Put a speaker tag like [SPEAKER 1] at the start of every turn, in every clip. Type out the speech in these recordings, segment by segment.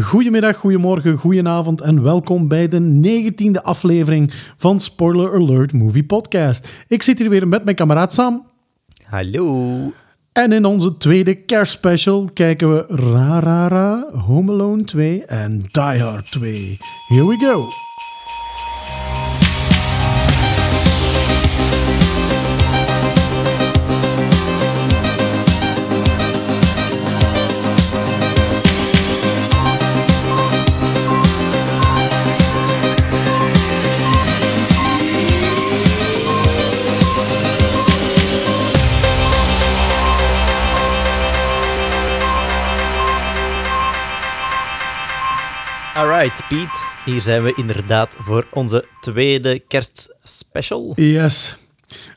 [SPEAKER 1] Goedemiddag, goedemorgen, goedenavond en welkom bij de negentiende aflevering van Spoiler Alert Movie Podcast. Ik zit hier weer met mijn kameraad Sam.
[SPEAKER 2] Hallo.
[SPEAKER 1] En in onze tweede kerstspecial kijken we Ra Ra Ra, Home Alone 2 en Die Hard 2. Here we go!
[SPEAKER 2] Alright, Piet. Hier zijn we inderdaad voor onze tweede kerstspecial.
[SPEAKER 1] Yes.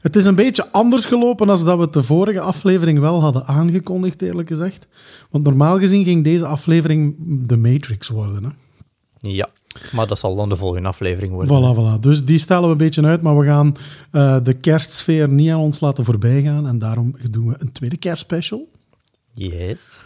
[SPEAKER 1] Het is een beetje anders gelopen dan dat we het de vorige aflevering wel hadden aangekondigd, eerlijk gezegd. Want normaal gezien ging deze aflevering de Matrix worden. Hè?
[SPEAKER 2] Ja, maar dat zal dan de volgende aflevering worden.
[SPEAKER 1] Voilà, voilà. Dus die stellen we een beetje uit, maar we gaan eh, de kerstsfeer niet aan ons laten voorbijgaan. En daarom doen we een tweede kerstspecial.
[SPEAKER 2] Yes.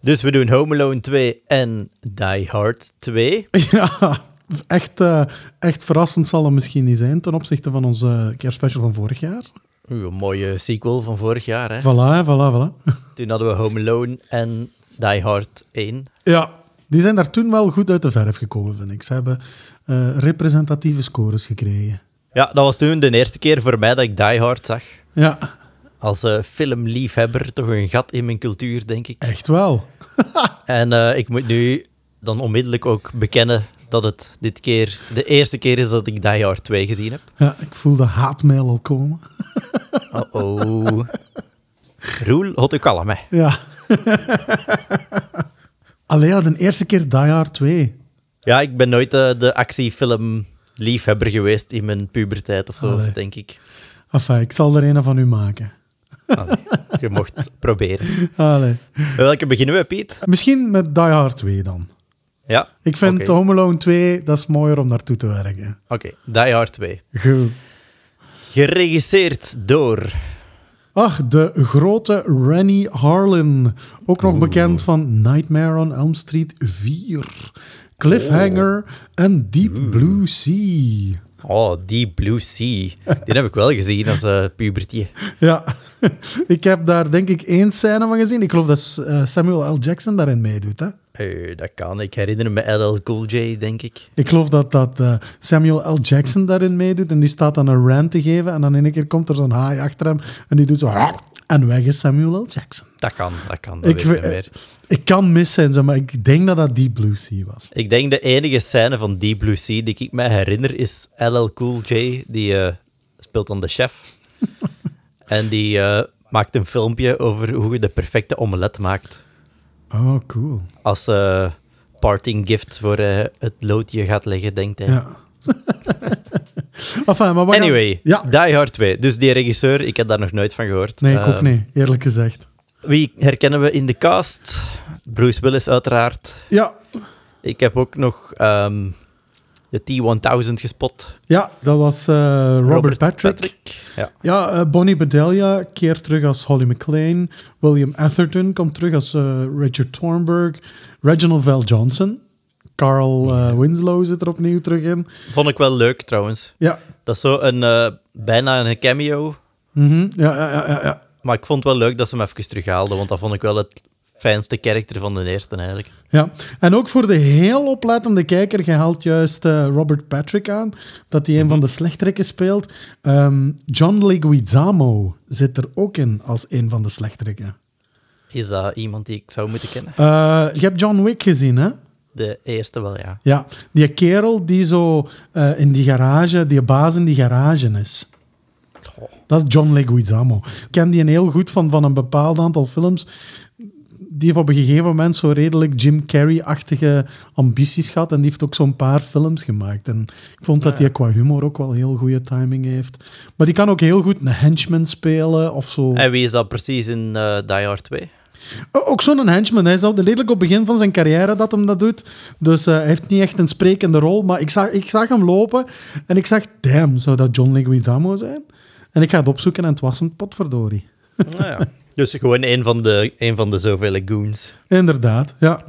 [SPEAKER 2] Dus we doen Home Alone 2 en Die Hard 2.
[SPEAKER 1] ja, echt, eh, echt verrassend zal het misschien niet zijn ten opzichte van onze kerstspecial van vorig jaar.
[SPEAKER 2] Uw mooie sequel van vorig jaar, hè?
[SPEAKER 1] Voilà, voilà, voilà.
[SPEAKER 2] Toen hadden we Home Alone en Die Hard 1.
[SPEAKER 1] Ja, die zijn daar toen wel goed uit de verf gekomen, vind ik. Ze hebben eh, representatieve scores gekregen.
[SPEAKER 2] Ja, dat was toen de eerste keer voor mij dat ik Die Hard zag.
[SPEAKER 1] Ja,
[SPEAKER 2] Als eh, filmliefhebber toch een gat in mijn cultuur, denk ik.
[SPEAKER 1] echt wel.
[SPEAKER 2] En eh, ik moet nu dan onmiddellijk ook bekennen dat het dit keer de eerste keer is dat ik Die Hard 2 gezien heb.
[SPEAKER 1] Ja, ik voel de haatmail al komen. Oh.
[SPEAKER 2] Oh-oh. Roel, hot u kalm, hè.
[SPEAKER 1] Ja. Allee, ja, de eerste keer Die Hard 2.
[SPEAKER 2] Ja, ik ben nooit eh, de actiefilm liefhebber geweest in mijn puberteit of zo,
[SPEAKER 1] Allee.
[SPEAKER 2] denk ik.
[SPEAKER 1] Enfin, ik zal er een van u maken.
[SPEAKER 2] Allee, je mocht proberen.
[SPEAKER 1] Allee.
[SPEAKER 2] Bij welke beginnen we, Piet?
[SPEAKER 1] Misschien met Die Hard 2 dan.
[SPEAKER 2] Ja.
[SPEAKER 1] Ik vind
[SPEAKER 2] Oké,
[SPEAKER 1] Home Alone 2, dat is mooier om naartoe te werken.
[SPEAKER 2] Oké, Die Hard 2.
[SPEAKER 1] Goed.
[SPEAKER 2] Geregisseerd door...
[SPEAKER 1] Ach, de grote Rennie Harlan. Ook nog bekend van Nightmare on Elm Street 4, Cliffhanger en Deep Blue Sea.
[SPEAKER 2] Oh, die Blue Sea. Die heb ik wel gezien als eh pubertje.
[SPEAKER 1] Ja, ik heb daar denk ik één scène van gezien. Ik geloof dat eh, Samuel L. Jackson daarin meedoet. Hè?
[SPEAKER 2] Eh, dat kan. Ik herinner me LL Cool J, denk ik.
[SPEAKER 1] Ik geloof dat, dat eh, Samuel L. Jackson daarin meedoet. En die staat dan een rant te geven. En dan in één keer komt er zo'n haai achter hem. En die doet zo... En weg is Samuel L. Jackson.
[SPEAKER 2] Dat kan, dat kan. Dat
[SPEAKER 1] Ik,
[SPEAKER 2] weet ik niet
[SPEAKER 1] we-
[SPEAKER 2] meer.
[SPEAKER 1] ik kan mis zijn, zeg maar ik denk dat dat Deep Blue Sea was.
[SPEAKER 2] Ik denk de enige scène van Deep Blue Sea die ik mij herinner is LL Cool J, die eh, speelt dan de chef. en die eh, maakt een filmpje over hoe je de perfecte omelet maakt.
[SPEAKER 1] Oh, cool.
[SPEAKER 2] Als eh, parting gift voor eh, het loodje gaat leggen, denkt hij.
[SPEAKER 1] Ja. enfin, maar we gaan-
[SPEAKER 2] Anyway,
[SPEAKER 1] Ja.
[SPEAKER 2] Die Hard 2. Dus die regisseur, ik heb daar nog nooit van gehoord.
[SPEAKER 1] Nee, ik ook
[SPEAKER 2] Ehm,
[SPEAKER 1] niet, eerlijk gezegd.
[SPEAKER 2] Wie herkennen we in de cast? Bruce Willis uiteraard.
[SPEAKER 1] Ja,
[SPEAKER 2] Ik heb ook nog ehm, de T-1000 gespot.
[SPEAKER 1] ja dat was eh, Robert, Patrick.
[SPEAKER 2] Ja.
[SPEAKER 1] Ja, eh, Bonnie Bedelia keert terug als Holly McLean. William Atherton komt terug als eh, Richard Thornburg. Reginald Val Johnson. Carl eh, Winslow zit er opnieuw terug in.
[SPEAKER 2] Vond ik wel leuk trouwens.
[SPEAKER 1] Ja,
[SPEAKER 2] Dat is zo een, eh, bijna een cameo.
[SPEAKER 1] mhm, ja, ja, ja, ja, ja.
[SPEAKER 2] Maar ik vond het wel leuk dat ze hem even terughaalden. Want dat vond ik wel het fijnste karakter van de eerste eigenlijk.
[SPEAKER 1] Ja, en ook voor de heel oplettende kijker, je haalt juist eh, Robert Patrick aan, dat hij een van de slechterikken speelt. Ehm, John Leguizamo zit er ook in als een van de slechterikken.
[SPEAKER 2] Is dat iemand die ik zou moeten kennen?
[SPEAKER 1] Eh, je hebt John Wick gezien, hè?
[SPEAKER 2] De eerste wel, ja.
[SPEAKER 1] Ja, die kerel die zo eh, in die garage, die baas in die garage is.
[SPEAKER 2] Goh.
[SPEAKER 1] Dat is John Leguizamo. Ik ken die een heel goed van, van een bepaald aantal films. Die heeft op een gegeven moment zo redelijk Jim Carrey-achtige ambities gehad. En die heeft ook zo'n paar films gemaakt. En ik vond dat hij qua humor ook wel heel goede timing heeft. Maar die kan ook heel goed een henchman spelen of zo.
[SPEAKER 2] En wie is dat precies in eh Die Hard 2?
[SPEAKER 1] O- Eh, Ook zo'n henchman. Hij is al redelijk op het begin van zijn carrière dat hem dat doet. Dus eh, hij heeft niet echt een sprekende rol. Maar ik zag, ik zag hem lopen en ik zag... Damn, zou dat John Leguizamo zijn? En ik ga het opzoeken en het was een potverdorie.
[SPEAKER 2] nou ja. Dus gewoon een van de, een van de zoveel goons.
[SPEAKER 1] Inderdaad, ja.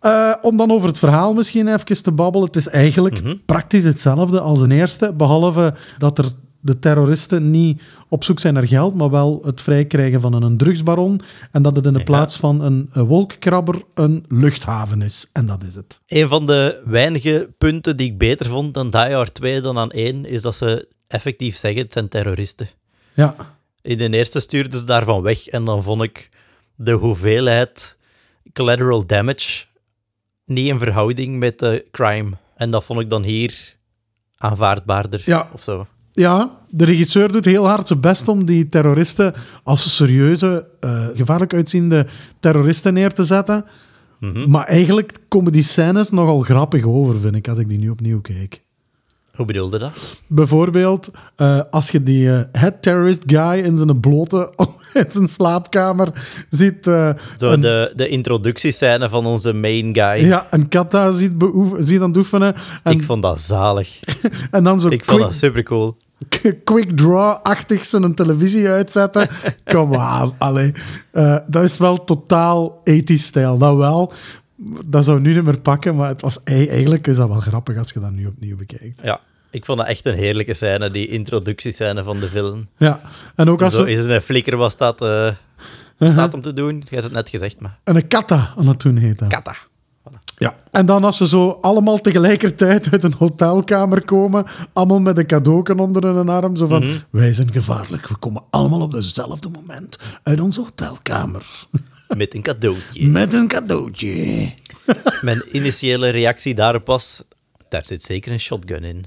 [SPEAKER 1] Eh, om dan over het verhaal misschien even te babbelen. Het is eigenlijk praktisch hetzelfde als de eerste, behalve dat er de terroristen niet op zoek zijn naar geld, maar wel het vrijkrijgen van een, een drugsbaron en dat het in de plaats van een, eh, wolkkrabber een luchthaven is. En dat is het.
[SPEAKER 2] Een van de weinige punten die ik beter vond dan Die Hard 2 dan aan 1, is dat ze effectief zeggen, het zijn terroristen.
[SPEAKER 1] Ja,
[SPEAKER 2] In de eerste stuurden ze daarvan weg en dan vond ik de hoeveelheid collateral damage niet in verhouding met de crime. En dat vond ik dan hier aanvaardbaarder
[SPEAKER 1] Ja.
[SPEAKER 2] of zo.
[SPEAKER 1] Ja, de regisseur doet heel hard zijn best om die terroristen als serieuze, eh, gevaarlijk uitziende terroristen neer te zetten.
[SPEAKER 2] Mhm.
[SPEAKER 1] Maar eigenlijk komen die scènes nogal grappig over, vind ik, als ik die nu opnieuw kijk.
[SPEAKER 2] Hoe bedoelde dat?
[SPEAKER 1] Bijvoorbeeld, eh, als je die het head terrorist guy in zijn blote, in zijn slaapkamer ziet, eh,
[SPEAKER 2] Zo de, de introductiescène van onze main guy.
[SPEAKER 1] ja, een kata ziet, beoefen, ziet aan het oefenen. En,
[SPEAKER 2] Ik vond dat zalig.
[SPEAKER 1] en dan zo
[SPEAKER 2] Ik vond
[SPEAKER 1] quick-
[SPEAKER 2] dat supercool.
[SPEAKER 1] K- quick draw-achtig zijn televisie uitzetten. Kom aan, allee. Eh, dat is wel totaal ethisch stijl, dat wel. Dat zou nu niet meer pakken, maar het was, ei- eigenlijk is dat wel grappig als je dat nu opnieuw bekijkt.
[SPEAKER 2] Ja, ik vond dat echt een heerlijke scène, die introductiescène van de film.
[SPEAKER 1] Ja, en ook als
[SPEAKER 2] Zo
[SPEAKER 1] ze Uh-huh.
[SPEAKER 2] is een flikker was dat eh, staat om te doen. Je hebt het net gezegd, maar
[SPEAKER 1] een kata aan het doen heet. dat.
[SPEAKER 2] kata.
[SPEAKER 1] Ja. En dan als ze zo allemaal tegelijkertijd uit een hotelkamer komen, allemaal met een cadeauken onder hun arm, zo van, wij zijn gevaarlijk, we komen allemaal op dezelfde moment uit onze hotelkamer.
[SPEAKER 2] Met een cadeautje.
[SPEAKER 1] Met een cadeautje.
[SPEAKER 2] Mijn initiële reactie daarop was: daar zit zeker een shotgun in.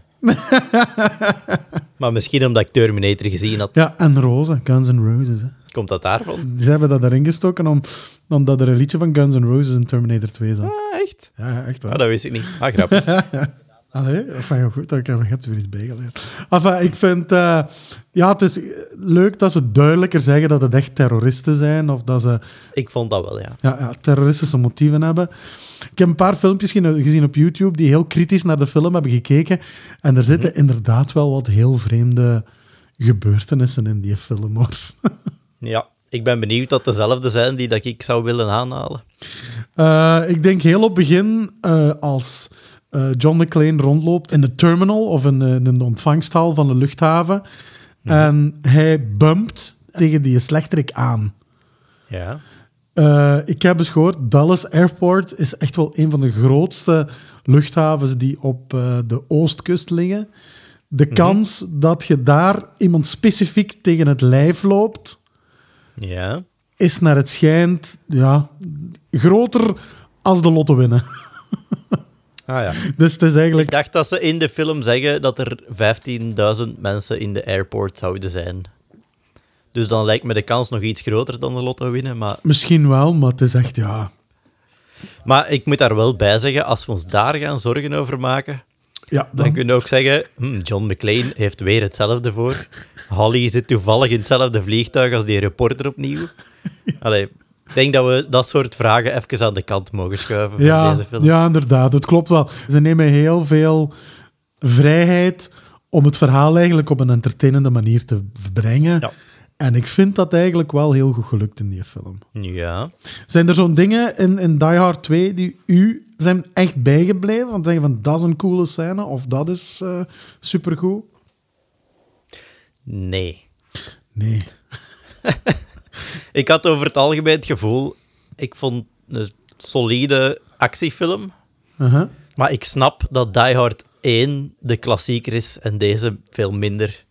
[SPEAKER 2] maar misschien omdat ik Terminator gezien had,
[SPEAKER 1] Ja, en Roze, Guns N' Roses. Hè.
[SPEAKER 2] komt dat daarvan.
[SPEAKER 1] Ze hebben dat erin gestoken om, omdat er een liedje van Guns N' Roses in Terminator 2 zat.
[SPEAKER 2] Ah, echt?
[SPEAKER 1] Ja, ja, echt
[SPEAKER 2] Ah,
[SPEAKER 1] waar.
[SPEAKER 2] dat wist ik niet. Ah, grappig.
[SPEAKER 1] Allee, enfin, ja, goed, ik heb, ik heb er weer iets bij geleerd. Enfin, ik vind... eh, ja, het is leuk dat ze duidelijker zeggen dat het echt terroristen zijn, of dat ze
[SPEAKER 2] ik vond dat wel, ja.
[SPEAKER 1] ja, ja, terroristische motieven hebben. Ik heb een paar filmpjes gene- gezien op YouTube die heel kritisch naar de film hebben gekeken. En er zitten inderdaad wel wat heel vreemde gebeurtenissen in die film, hoor.
[SPEAKER 2] Ja, ik ben benieuwd dat dezelfde zijn die dat ik zou willen aanhalen.
[SPEAKER 1] Eh, ik denk heel op het begin, eh, als eh, John McClane rondloopt in de terminal of in de, in de ontvangsthal van de luchthaven. En hij bumpt tegen die slechterik aan.
[SPEAKER 2] Ja.
[SPEAKER 1] Eh, ik heb eens gehoord, Dallas Airport is echt wel een van de grootste luchthavens die op eh, de oostkust liggen. De kans dat je daar iemand specifiek tegen het lijf loopt,
[SPEAKER 2] Ja.
[SPEAKER 1] is naar het schijnt ja, groter als de lotto winnen.
[SPEAKER 2] Ah ja.
[SPEAKER 1] Dus het is
[SPEAKER 2] Ik
[SPEAKER 1] eigenlijk.
[SPEAKER 2] dacht dat ze in de film zeggen dat er 15.000 mensen in de airport zouden zijn. Dus dan lijkt me de kans nog iets groter dan de lotto winnen. Maar,
[SPEAKER 1] Misschien wel, maar het is echt ja.
[SPEAKER 2] maar ik moet daar wel bij zeggen, als we ons daar gaan zorgen over maken,
[SPEAKER 1] ja
[SPEAKER 2] dan,
[SPEAKER 1] dan,
[SPEAKER 2] kunnen we ook zeggen, hm, John McClane heeft weer hetzelfde voor. Holly zit toevallig in hetzelfde vliegtuig als die reporter opnieuw. Allee, ik denk dat we dat soort vragen even aan de kant mogen schuiven van
[SPEAKER 1] ja,
[SPEAKER 2] deze film.
[SPEAKER 1] ja, inderdaad. Het klopt wel. Ze nemen heel veel vrijheid om het verhaal eigenlijk op een entertainende manier te brengen.
[SPEAKER 2] Ja.
[SPEAKER 1] En ik vind dat eigenlijk wel heel goed gelukt in die film.
[SPEAKER 2] ja.
[SPEAKER 1] Zijn er zo'n dingen in, in Die Hard 2 die u zijn echt bijgebleven? Want zeggen van dat is een coole scène of dat is eh, supergoed?
[SPEAKER 2] Nee.
[SPEAKER 1] Nee.
[SPEAKER 2] Ik had over het algemeen het gevoel, ik vond een solide actiefilm.
[SPEAKER 1] Uh-huh.
[SPEAKER 2] Maar ik snap dat Die Hard 1 de klassieker is en deze veel minder.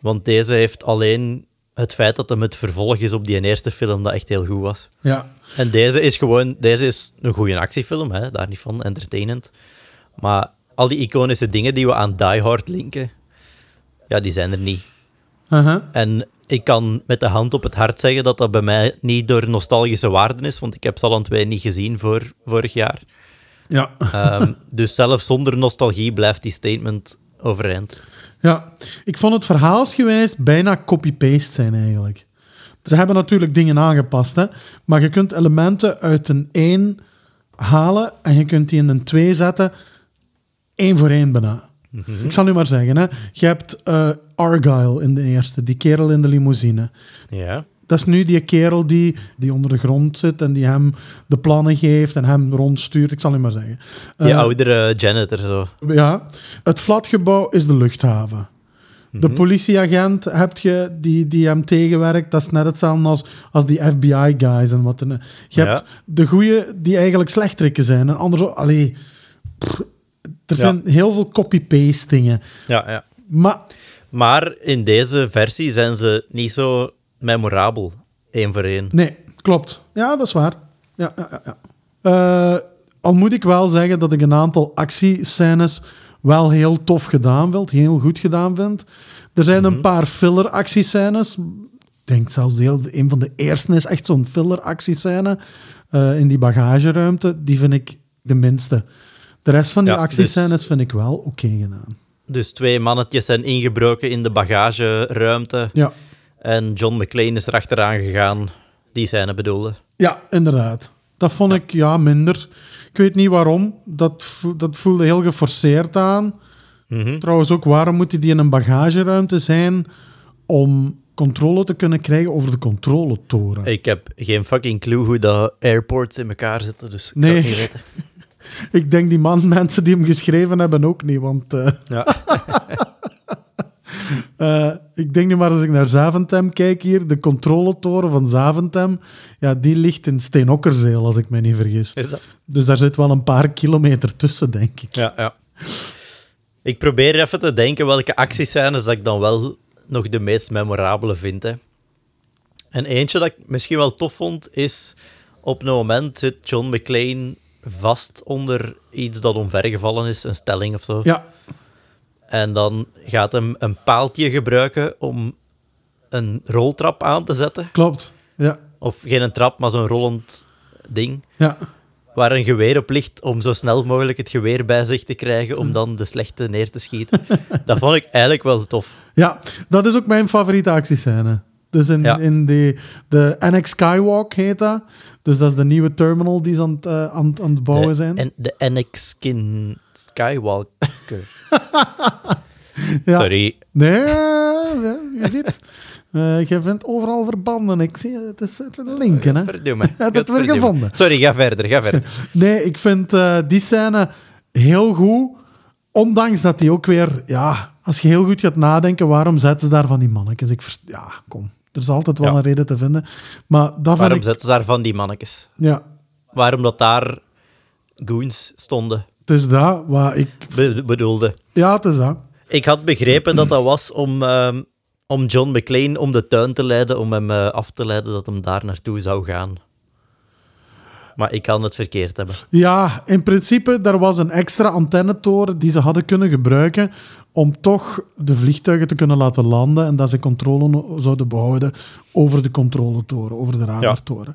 [SPEAKER 2] Want deze heeft alleen het feit dat hem het vervolg is op die eerste film dat echt heel goed was.
[SPEAKER 1] Ja.
[SPEAKER 2] En deze is gewoon, deze is een goede actiefilm, hè? daar niet van, entertainend. Maar al die iconische dingen die we aan Die Hard linken, ja, die zijn er niet.
[SPEAKER 1] Uh-huh.
[SPEAKER 2] En ik kan met de hand op het hart zeggen dat dat bij mij niet door nostalgische waarden is, want ik heb Salon 2 niet gezien voor vorig jaar.
[SPEAKER 1] Ja.
[SPEAKER 2] Ehm, dus zelfs zonder nostalgie blijft die statement overeind.
[SPEAKER 1] Ja, ik vond het verhaalsgewijs bijna copy-paste zijn eigenlijk. Ze hebben natuurlijk dingen aangepast, hè? maar je kunt elementen uit een 1 halen en je kunt die in een 2 zetten, één voor één bijna. Ik zal nu maar zeggen, hè? je hebt eh, Argyle in de eerste, die kerel in de limousine.
[SPEAKER 2] Ja.
[SPEAKER 1] Dat is nu die kerel die, die onder de grond zit en die hem de plannen geeft en hem rondstuurt. Ik zal het maar zeggen.
[SPEAKER 2] Die
[SPEAKER 1] Eh,
[SPEAKER 2] oudere janitor zo.
[SPEAKER 1] ja. Het flatgebouw is de luchthaven.
[SPEAKER 2] Mhm.
[SPEAKER 1] De politieagent heb je die, die hem tegenwerkt. Dat is net hetzelfde als, als die FBI-guys en wat. dan- Je
[SPEAKER 2] Ja.
[SPEAKER 1] hebt de goeie die eigenlijk slechterikken zijn. En anders, allee, pff, er
[SPEAKER 2] Ja.
[SPEAKER 1] zijn heel veel copy-pastingen.
[SPEAKER 2] Ja, ja.
[SPEAKER 1] Maar
[SPEAKER 2] Maar in deze versie zijn ze niet zo memorabel, één voor één.
[SPEAKER 1] nee, klopt. Ja, dat is waar. Ja, ja, ja, ja. Eh, al moet ik wel zeggen dat ik een aantal actiescènes wel heel tof gedaan vind, heel goed gedaan vind. Er zijn een paar filler actiescènes. Ik denk zelfs heel, een van de eerste is echt zo'n filler actiescène eh, in die bagageruimte. Die vind ik de minste. De rest van die
[SPEAKER 2] Ja,
[SPEAKER 1] actiescènes vind ik wel oké gedaan.
[SPEAKER 2] Dus twee mannetjes zijn ingebroken in de bagageruimte.
[SPEAKER 1] Ja.
[SPEAKER 2] En John McClane is erachteraan gegaan. Die scène bedoelde.
[SPEAKER 1] Ja, inderdaad. Dat vond ik ja, minder. Ik weet niet waarom. Dat, vo- dat voelde heel geforceerd aan.
[SPEAKER 2] Mhm.
[SPEAKER 1] Trouwens ook, waarom moet die in een bagageruimte zijn om controle te kunnen krijgen over de controletoren?
[SPEAKER 2] Ik heb geen fucking clue hoe dat airports in elkaar zitten, dus ik zou
[SPEAKER 1] Nee.
[SPEAKER 2] het niet weten.
[SPEAKER 1] Ik denk die man, mensen die hem geschreven hebben ook niet, want... eh,
[SPEAKER 2] Ja.
[SPEAKER 1] Eh, ik denk nu maar als ik naar Zaventem kijk hier, de controletoren van Zaventem, ja, die ligt in Steenokkerzeel, als ik me niet vergis.
[SPEAKER 2] Is dat?
[SPEAKER 1] Dus daar zit wel een paar kilometer tussen, denk ik.
[SPEAKER 2] Ja, ja. Ik probeer even te denken welke actiescènes dat ik dan wel nog de meest memorabele vind. Hè. En eentje dat ik misschien wel tof vond, is op een moment zit John McClane vast onder iets dat omvergevallen is, een stelling of zo.
[SPEAKER 1] Ja,
[SPEAKER 2] En dan gaat hem een paaltje gebruiken om een roltrap aan te zetten.
[SPEAKER 1] klopt. Ja,
[SPEAKER 2] Of geen een trap, maar zo'n rollend ding.
[SPEAKER 1] ja.
[SPEAKER 2] Waar een geweer op ligt om zo snel mogelijk het geweer bij zich te krijgen om dan de slechte neer te schieten. Dat vond ik eigenlijk wel tof.
[SPEAKER 1] Ja, dat is ook mijn favoriete actiescène. Dus in,
[SPEAKER 2] Ja.
[SPEAKER 1] in die, de NX Skywalk heet dat. Dus dat is de nieuwe terminal die ze aan het, eh, aan, het- aan het bouwen
[SPEAKER 2] de,
[SPEAKER 1] zijn.
[SPEAKER 2] En de NX Skin Skywalker.
[SPEAKER 1] Ja.
[SPEAKER 2] Sorry.
[SPEAKER 1] Nee, ja, je ziet. Eh, je vindt overal verbanden. Ik zie, het is het zijn linken, hè.
[SPEAKER 2] Verdomme.
[SPEAKER 1] Ja, dat werd gevonden.
[SPEAKER 2] Sorry, ga verder, ga verder.
[SPEAKER 1] Nee, ik vind eh, die scène heel goed. Ondanks dat die ook weer... Ja, als je heel goed gaat nadenken, waarom zetten ze daar van die mannetjes? Ik vers- ja, kom. Er is altijd wel
[SPEAKER 2] Ja.
[SPEAKER 1] een reden te vinden. Maar dat
[SPEAKER 2] Waarom
[SPEAKER 1] vond ik...
[SPEAKER 2] zetten ze daar van die mannetjes?
[SPEAKER 1] Ja,
[SPEAKER 2] Waarom dat daar goons stonden,
[SPEAKER 1] het is dat waar ik...
[SPEAKER 2] be- bedoelde.
[SPEAKER 1] Ja, het is dat.
[SPEAKER 2] Ik had begrepen dat dat was om, ehm, om John McClane om de tuin te leiden, om hem eh, af te leiden dat hem daar naartoe zou gaan. Maar ik kan het verkeerd hebben.
[SPEAKER 1] Ja, in principe, er was een extra antennetoren die ze hadden kunnen gebruiken om toch de vliegtuigen te kunnen laten landen en dat ze controle no- zouden behouden over de controletoren, over de radartoren.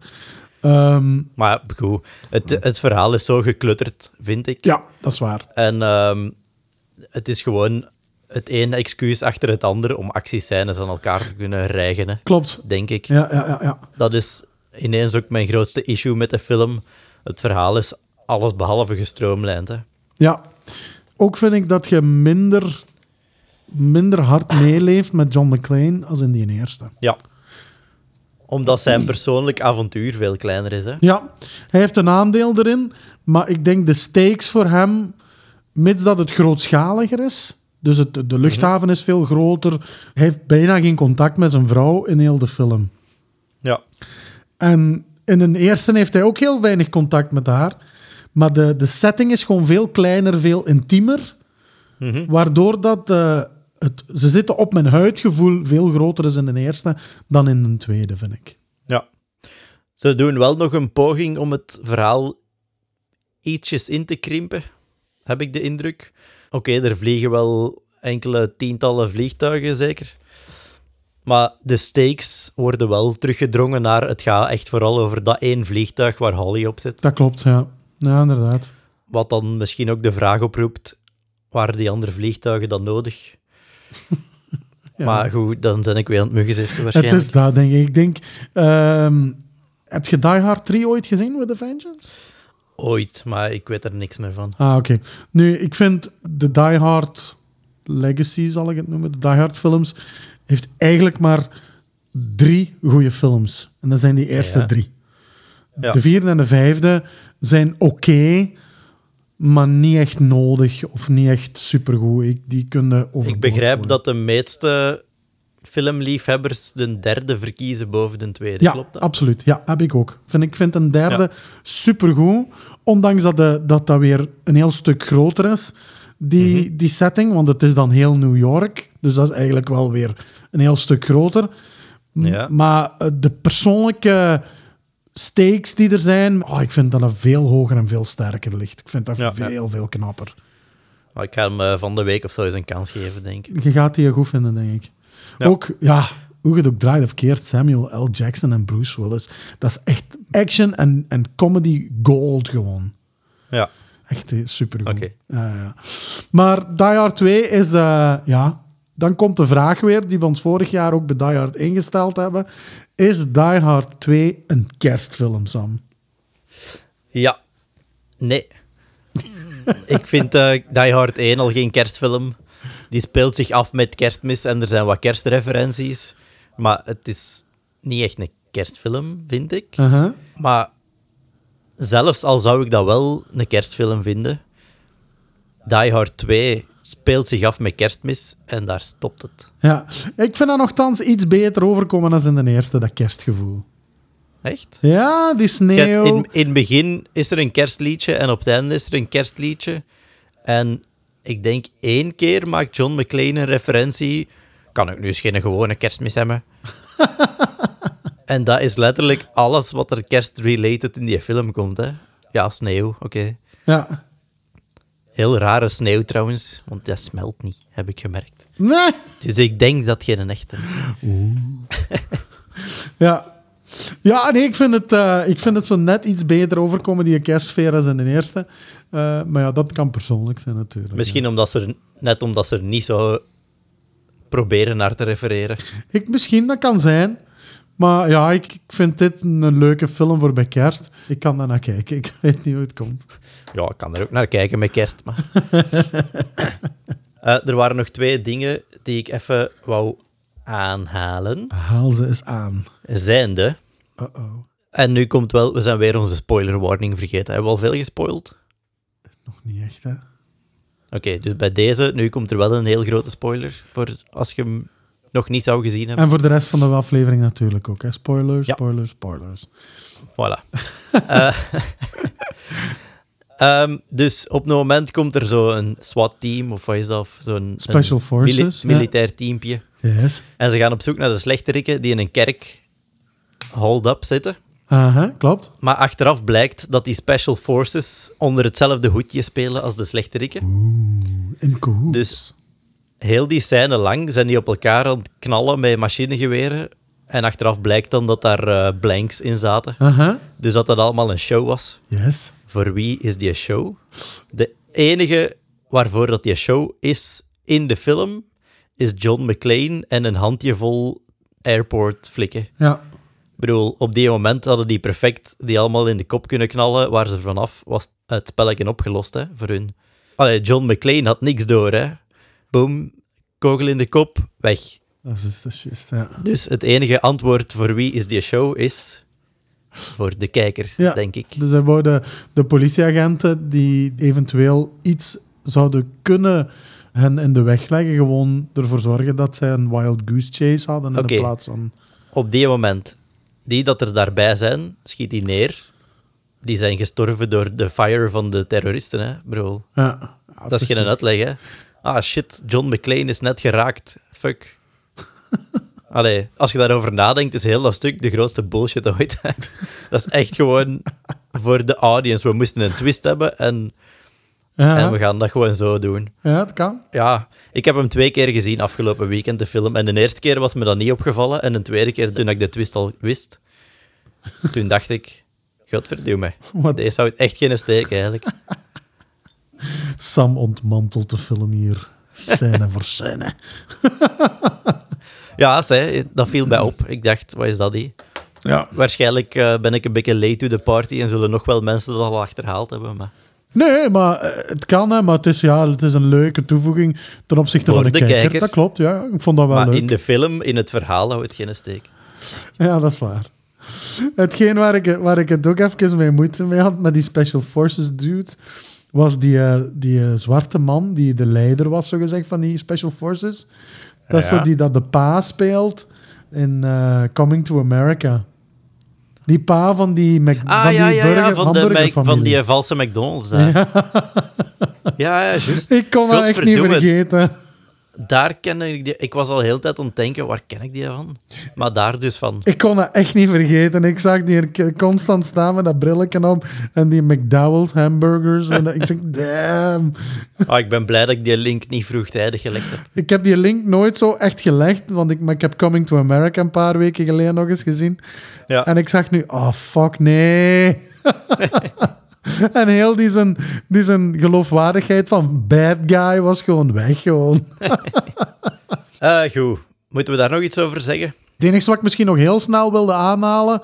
[SPEAKER 1] Ehm, Ja,
[SPEAKER 2] Maar goed, het, het verhaal is zo geklutterd, vind ik.
[SPEAKER 1] ja dat is waar.
[SPEAKER 2] En ehm, het is gewoon het ene excuus achter het andere om actiescènes aan elkaar te kunnen rijgen, hè,
[SPEAKER 1] Klopt.
[SPEAKER 2] denk ik.
[SPEAKER 1] Ja, ja, ja. ja.
[SPEAKER 2] Dat is ineens ook mijn grootste issue met de film. Het verhaal is alles behalve gestroomlijnd. Hè.
[SPEAKER 1] ja. Ook vind ik dat je minder, minder hard meeleeft met John McClane als in die eerste.
[SPEAKER 2] Ja. Omdat zijn persoonlijk avontuur veel kleiner is. Hè?
[SPEAKER 1] Ja, hij heeft een aandeel erin. Maar ik denk de stakes voor hem, mits dat het grootschaliger is. Dus het, de luchthaven is veel groter. Hij heeft bijna geen contact met zijn vrouw in heel de film.
[SPEAKER 2] Ja.
[SPEAKER 1] En in een eerste heeft hij ook heel weinig contact met haar. Maar de, de setting is gewoon veel kleiner, veel intiemer. Waardoor dat... eh, het, ze zitten op mijn huidgevoel veel groter is in de eerste dan in de tweede, vind ik.
[SPEAKER 2] ja. Ze doen wel nog een poging om het verhaal ietsjes in te krimpen, heb ik de indruk. Oké, er vliegen wel enkele tientallen vliegtuigen, zeker. Maar de stakes worden wel teruggedrongen naar het gaat echt vooral over dat één vliegtuig waar Holly op zit.
[SPEAKER 1] Dat klopt, ja. Ja, inderdaad.
[SPEAKER 2] Wat dan misschien ook de vraag oproept: waren die andere vliegtuigen dan nodig? Maar goed, dan ben ik weer aan het muggenziften
[SPEAKER 1] Het
[SPEAKER 2] waarschijnlijk.
[SPEAKER 1] is dat, denk ik. Ik denk... ehm, heb je Die Hard 3 ooit gezien, With a Vengeance?
[SPEAKER 2] Ooit, maar ik weet er niks meer van.
[SPEAKER 1] Ah, oké. Nu, ik vind de Die Hard Legacy, zal ik het noemen, de Die Hard films, heeft eigenlijk maar drie goede films. En dat zijn die eerste
[SPEAKER 2] Ja.
[SPEAKER 1] drie.
[SPEAKER 2] Ja.
[SPEAKER 1] De vierde en de vijfde zijn oké, maar niet echt nodig of niet echt supergoed. Ik, die kunnen
[SPEAKER 2] Ik
[SPEAKER 1] overboord
[SPEAKER 2] begrijp
[SPEAKER 1] worden.
[SPEAKER 2] dat de meeste filmliefhebbers de derde verkiezen boven de tweede.
[SPEAKER 1] Ja,
[SPEAKER 2] Klopt dat?
[SPEAKER 1] absoluut. Ja, heb ik ook. Vind, ik vind een derde supergoed. Ondanks dat, de, dat dat weer een heel stuk groter is, die,
[SPEAKER 2] Mhm.
[SPEAKER 1] die setting. Want het is dan heel New York. Dus dat is eigenlijk wel weer een heel stuk groter. M-
[SPEAKER 2] Ja.
[SPEAKER 1] Maar eh, de persoonlijke stakes die er zijn... Oh, ik vind dat dat veel hoger en veel sterker ligt. Ik vind dat
[SPEAKER 2] Ja, ja.
[SPEAKER 1] veel, veel knapper.
[SPEAKER 2] Maar ik ga hem eh, van de week of zo eens een kans geven, denk ik.
[SPEAKER 1] Je gaat die goed vinden, denk ik.
[SPEAKER 2] Ja.
[SPEAKER 1] Ook, ja, hoe je het ook draait of keert, Samuel L. Jackson en Bruce Willis. Dat is echt action en, en comedy gold gewoon.
[SPEAKER 2] Ja.
[SPEAKER 1] Echt eh, supergoed.
[SPEAKER 2] Oké.
[SPEAKER 1] Ja, ja. Maar Die Hard 2 is, eh, ja, dan komt de vraag weer die we ons vorig jaar ook bij Die Hard ingesteld hebben. Is Die Hard 2 een kerstfilm, Sam?
[SPEAKER 2] Ja. Nee. ik vind eh, Die Hard 1 al geen kerstfilm. Die speelt zich af met kerstmis en er zijn wat kerstreferenties. Maar het is niet echt een kerstfilm, vind ik.
[SPEAKER 1] Uh-huh.
[SPEAKER 2] Maar zelfs al zou ik dat wel een kerstfilm vinden, Die Hard 2 speelt zich af met kerstmis en daar stopt het.
[SPEAKER 1] Ja, ik vind dat nogthans iets beter overkomen dan in de eerste, dat kerstgevoel.
[SPEAKER 2] Echt?
[SPEAKER 1] Ja, die
[SPEAKER 2] Kijk,
[SPEAKER 1] sneeuw.
[SPEAKER 2] In, in het begin is er een kerstliedje en op het einde is er een kerstliedje. En ik denk één keer maakt John McClane een referentie. Kan ik nu eens geen gewone kerstmis hebben? en dat is letterlijk alles wat er kerstrelated in die film komt. Hè? Ja, sneeuw, oké.
[SPEAKER 1] Ja.
[SPEAKER 2] Heel rare sneeuw trouwens, want dat smelt niet, heb ik gemerkt.
[SPEAKER 1] Nee.
[SPEAKER 2] Dus ik denk dat geen echte is.
[SPEAKER 1] Ja. Ja, nee, ik vind, het, eh, ik vind het zo net iets beter overkomen, die kerstsfeer, als in de eerste. Eh, maar ja, dat kan persoonlijk zijn natuurlijk.
[SPEAKER 2] Misschien omdat ze er, net omdat ze er niet zo proberen naar te refereren.
[SPEAKER 1] Ik, misschien, dat kan zijn. Maar ja, ik, ik vind dit een leuke film voor bij kerst. Ik kan daar naar kijken. Ik weet niet hoe het komt.
[SPEAKER 2] Ja, ik kan er ook naar kijken met kerst. Maar. Eh, er waren nog twee dingen die ik even wou aanhalen.
[SPEAKER 1] Haal ze eens aan.
[SPEAKER 2] Zijnde,
[SPEAKER 1] Uh-oh.
[SPEAKER 2] en nu komt wel, we zijn weer onze spoiler warning vergeten. Hebben we al veel gespoild?
[SPEAKER 1] Nog niet echt, hè?
[SPEAKER 2] Oké, dus bij deze, nu komt er wel een heel grote spoiler voor als je hem nog niet zou gezien hebben.
[SPEAKER 1] En voor de rest van de aflevering natuurlijk ook, hè? Spoilers,
[SPEAKER 2] Ja.
[SPEAKER 1] spoilers, spoilers.
[SPEAKER 2] Voilà. Eh, ehm, dus op het moment komt er zo een SWAT-team, of wat is dat? Zo'n
[SPEAKER 1] Special
[SPEAKER 2] een
[SPEAKER 1] Forces, ja.
[SPEAKER 2] militair teampje.
[SPEAKER 1] Yes.
[SPEAKER 2] En ze gaan op zoek naar de slechterikken die in een kerk hold-up zitten.
[SPEAKER 1] Aha, klopt.
[SPEAKER 2] Maar achteraf blijkt dat die Special Forces onder hetzelfde hoedje spelen als de slechterikken.
[SPEAKER 1] In cahoots.
[SPEAKER 2] Dus- Heel die scène lang zijn die op elkaar aan het knallen met machinegeweren. En achteraf blijkt dan dat daar eh, blanks in zaten.
[SPEAKER 1] Aha,
[SPEAKER 2] Dus dat dat allemaal een show was.
[SPEAKER 1] yes.
[SPEAKER 2] Voor wie is die show? De enige waarvoor dat die show is in de film, is John McClane en een handjevol airport flikken.
[SPEAKER 1] Ja.
[SPEAKER 2] Ik bedoel, op die moment hadden die perfect die allemaal in de kop kunnen knallen, waar ze vanaf was het spelletje opgelost hè, voor hun. Allee, John McClane had niks door, hè. Boom, kogel in de kop, weg.
[SPEAKER 1] Dat is dus, dat is juist, ja.
[SPEAKER 2] Dus het enige antwoord voor wie is die show is voor de kijker,
[SPEAKER 1] Ja.
[SPEAKER 2] denk ik.
[SPEAKER 1] Dus hij wou de, de politieagenten die eventueel iets zouden kunnen hen in de weg leggen, gewoon ervoor zorgen dat zij een wild goose chase hadden in
[SPEAKER 2] Oké.
[SPEAKER 1] de plaats van...
[SPEAKER 2] Op die moment, die dat er daarbij zijn, schiet die neer. Die zijn gestorven door de fire van de terroristen, hè, bro.
[SPEAKER 1] Ja,
[SPEAKER 2] Dat is geen uitleg, hè? Ah, shit, John McClane is net geraakt. Fuck. Allee, als je daarover nadenkt, is heel dat stuk de grootste bullshit ooit. hè. dat is echt gewoon voor de audience. We moesten een twist hebben en, en
[SPEAKER 1] Ja,
[SPEAKER 2] we gaan dat gewoon zo doen.
[SPEAKER 1] ja, het kan.
[SPEAKER 2] Ja, ik heb hem twee keer gezien afgelopen weekend, de film. En de eerste keer was me dat niet opgevallen. En de tweede keer, toen ik de twist al wist, toen dacht ik... Godverdomme,
[SPEAKER 1] Wat?
[SPEAKER 2] deze houdt echt geen steek eigenlijk.
[SPEAKER 1] Sam ontmantelt de film hier. Scène voor scène.
[SPEAKER 2] Ja, zei, dat viel mij op. Ik dacht, wat is dat die?
[SPEAKER 1] Ja.
[SPEAKER 2] Waarschijnlijk eh, ben ik een beetje late to the party en zullen nog wel mensen dat al achterhaald hebben. Maar
[SPEAKER 1] Nee, maar eh, het kan, hè, maar het is, ja, het is een leuke toevoeging ten opzichte
[SPEAKER 2] Voor
[SPEAKER 1] van de,
[SPEAKER 2] de
[SPEAKER 1] kijker.
[SPEAKER 2] kijker.
[SPEAKER 1] Dat klopt, ja. Ik vond dat wel
[SPEAKER 2] maar
[SPEAKER 1] leuk.
[SPEAKER 2] in de film, in het verhaal, houdt het geen steek.
[SPEAKER 1] Ja, dat is waar. Hetgeen waar ik, waar ik het ook even mee moeite mee had, met die Special Forces dude, was die, eh, die eh, zwarte man, die de leider was, zogezegd, van die Special Forces. Dat is
[SPEAKER 3] Ja.
[SPEAKER 1] zo die dat de pa speelt in eh, Coming to America. Die pa van die, Mac-
[SPEAKER 2] Ah,
[SPEAKER 1] van
[SPEAKER 2] ja,
[SPEAKER 1] die
[SPEAKER 2] ja,
[SPEAKER 1] burger,
[SPEAKER 2] ja, van, de, Mac- van
[SPEAKER 1] hamburgerfamilie.
[SPEAKER 2] die valse McDonald's. daar. Ja, ja, juist.
[SPEAKER 1] Ik kon dat echt niet
[SPEAKER 2] Godverdomme.
[SPEAKER 1] vergeten.
[SPEAKER 2] Daar ken ik die... Ik was al heel de tijd aan het denken, waar ken ik die van? Maar daar dus van.
[SPEAKER 1] Ik kon dat echt niet vergeten. Ik zag die er k- constant staan met dat brilletje om en die McDowell's hamburgers. En dat- ik zeg, damn.
[SPEAKER 2] Ah, ik ben blij dat ik die link niet vroegtijdig gelegd heb.
[SPEAKER 1] Ik heb die link nooit zo echt gelegd, want ik, maar ik heb Coming to America een paar weken geleden nog eens gezien.
[SPEAKER 2] Ja.
[SPEAKER 1] En ik zag nu, oh fuck, nee. en heel die zijn, die zijn geloofwaardigheid van bad guy was gewoon weg. Gewoon.
[SPEAKER 2] Eh, goed. Moeten we daar nog iets over zeggen?
[SPEAKER 1] Het enige wat ik misschien nog heel snel wilde aanhalen,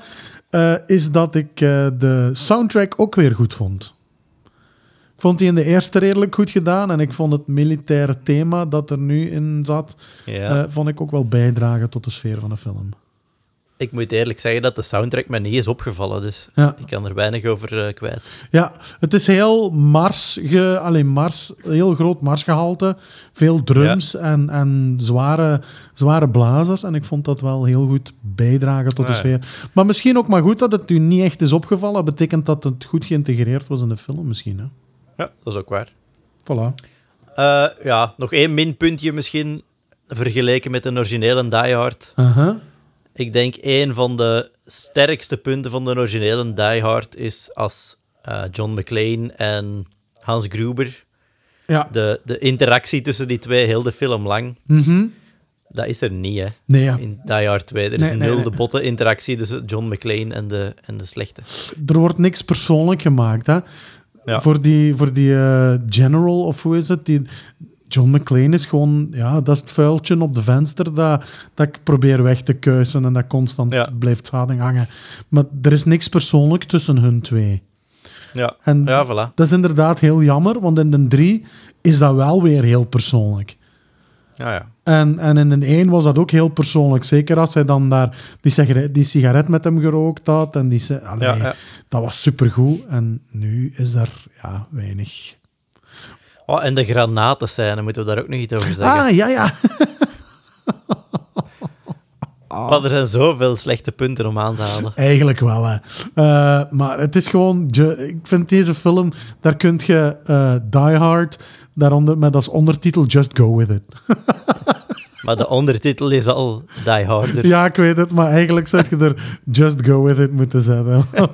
[SPEAKER 1] eh, is dat ik eh, de soundtrack ook weer goed vond. Ik vond die in de eerste redelijk goed gedaan en ik vond het militaire thema dat er nu in zat,
[SPEAKER 2] Ja.
[SPEAKER 1] eh, vond ik ook wel bijdragen tot de sfeer van de film.
[SPEAKER 2] Ik moet eerlijk zeggen dat de soundtrack me niet is opgevallen, dus
[SPEAKER 1] Ja.
[SPEAKER 2] ik kan er weinig over eh, kwijt.
[SPEAKER 1] Ja, het is heel Mars, ge, alleen Mars, heel groot Marsgehalte. Veel drums en, en zware, zware blazers. En ik vond dat wel heel goed bijdragen tot de
[SPEAKER 2] Ah, ja.
[SPEAKER 1] sfeer. Maar misschien ook maar goed dat het u niet echt is opgevallen. Betekent dat het goed geïntegreerd was in de film misschien. Hè?
[SPEAKER 2] Ja, dat is ook waar.
[SPEAKER 1] Voilà.
[SPEAKER 2] Eh, ja, nog één minpuntje misschien, vergeleken met een originele Die Hard.
[SPEAKER 1] Aha.
[SPEAKER 2] Ik denk één van de sterkste punten van de originele Die Hard is als eh, John McClane en Hans Gruber,
[SPEAKER 1] Ja.
[SPEAKER 2] de, de interactie tussen die twee heel de film lang,
[SPEAKER 1] Mhm.
[SPEAKER 2] dat is er niet, hè.
[SPEAKER 1] Nee, ja.
[SPEAKER 2] In Die Hard 2, er
[SPEAKER 1] Nee,
[SPEAKER 2] is
[SPEAKER 1] nee,
[SPEAKER 2] nul
[SPEAKER 1] nee.
[SPEAKER 2] de botte interactie tussen John McClane en de, en de slechte.
[SPEAKER 1] er wordt niks persoonlijk gemaakt. Hè?
[SPEAKER 2] Ja.
[SPEAKER 1] Voor die, voor die eh, general, of hoe is het? Die, John McClane is gewoon... Ja, dat is het vuiltje op de venster dat, dat ik probeer weg te kuisen en dat constant
[SPEAKER 2] Ja.
[SPEAKER 1] blijft hangen. Maar er is niks persoonlijk tussen hun twee.
[SPEAKER 2] Ja,
[SPEAKER 1] En
[SPEAKER 2] ja voilà.
[SPEAKER 1] dat is inderdaad heel jammer, want in de drie is dat wel weer heel persoonlijk.
[SPEAKER 2] Ja, ja.
[SPEAKER 1] En, en in de één was dat ook heel persoonlijk. Zeker als hij dan daar die sigaret, die sigaret met hem gerookt had. En die, si- Allee,
[SPEAKER 2] Ja, ja.
[SPEAKER 1] Dat was supergoed. En nu is er ja, weinig.
[SPEAKER 2] Oh, en de granaten zijn, moeten we daar ook nog iets over zeggen.
[SPEAKER 1] Ah, ja, ja.
[SPEAKER 2] Maar er zijn zoveel slechte punten om aan te halen.
[SPEAKER 1] Eigenlijk wel, hè. Eh, maar het is gewoon... je- Ik vind deze film... Daar kun je eh, Die Hard daaronder, met als ondertitel Just Go With It.
[SPEAKER 2] Maar de ondertitel is al Die Harder.
[SPEAKER 1] Ja, ik weet het, maar eigenlijk zou je er Just Go With It moeten zetten.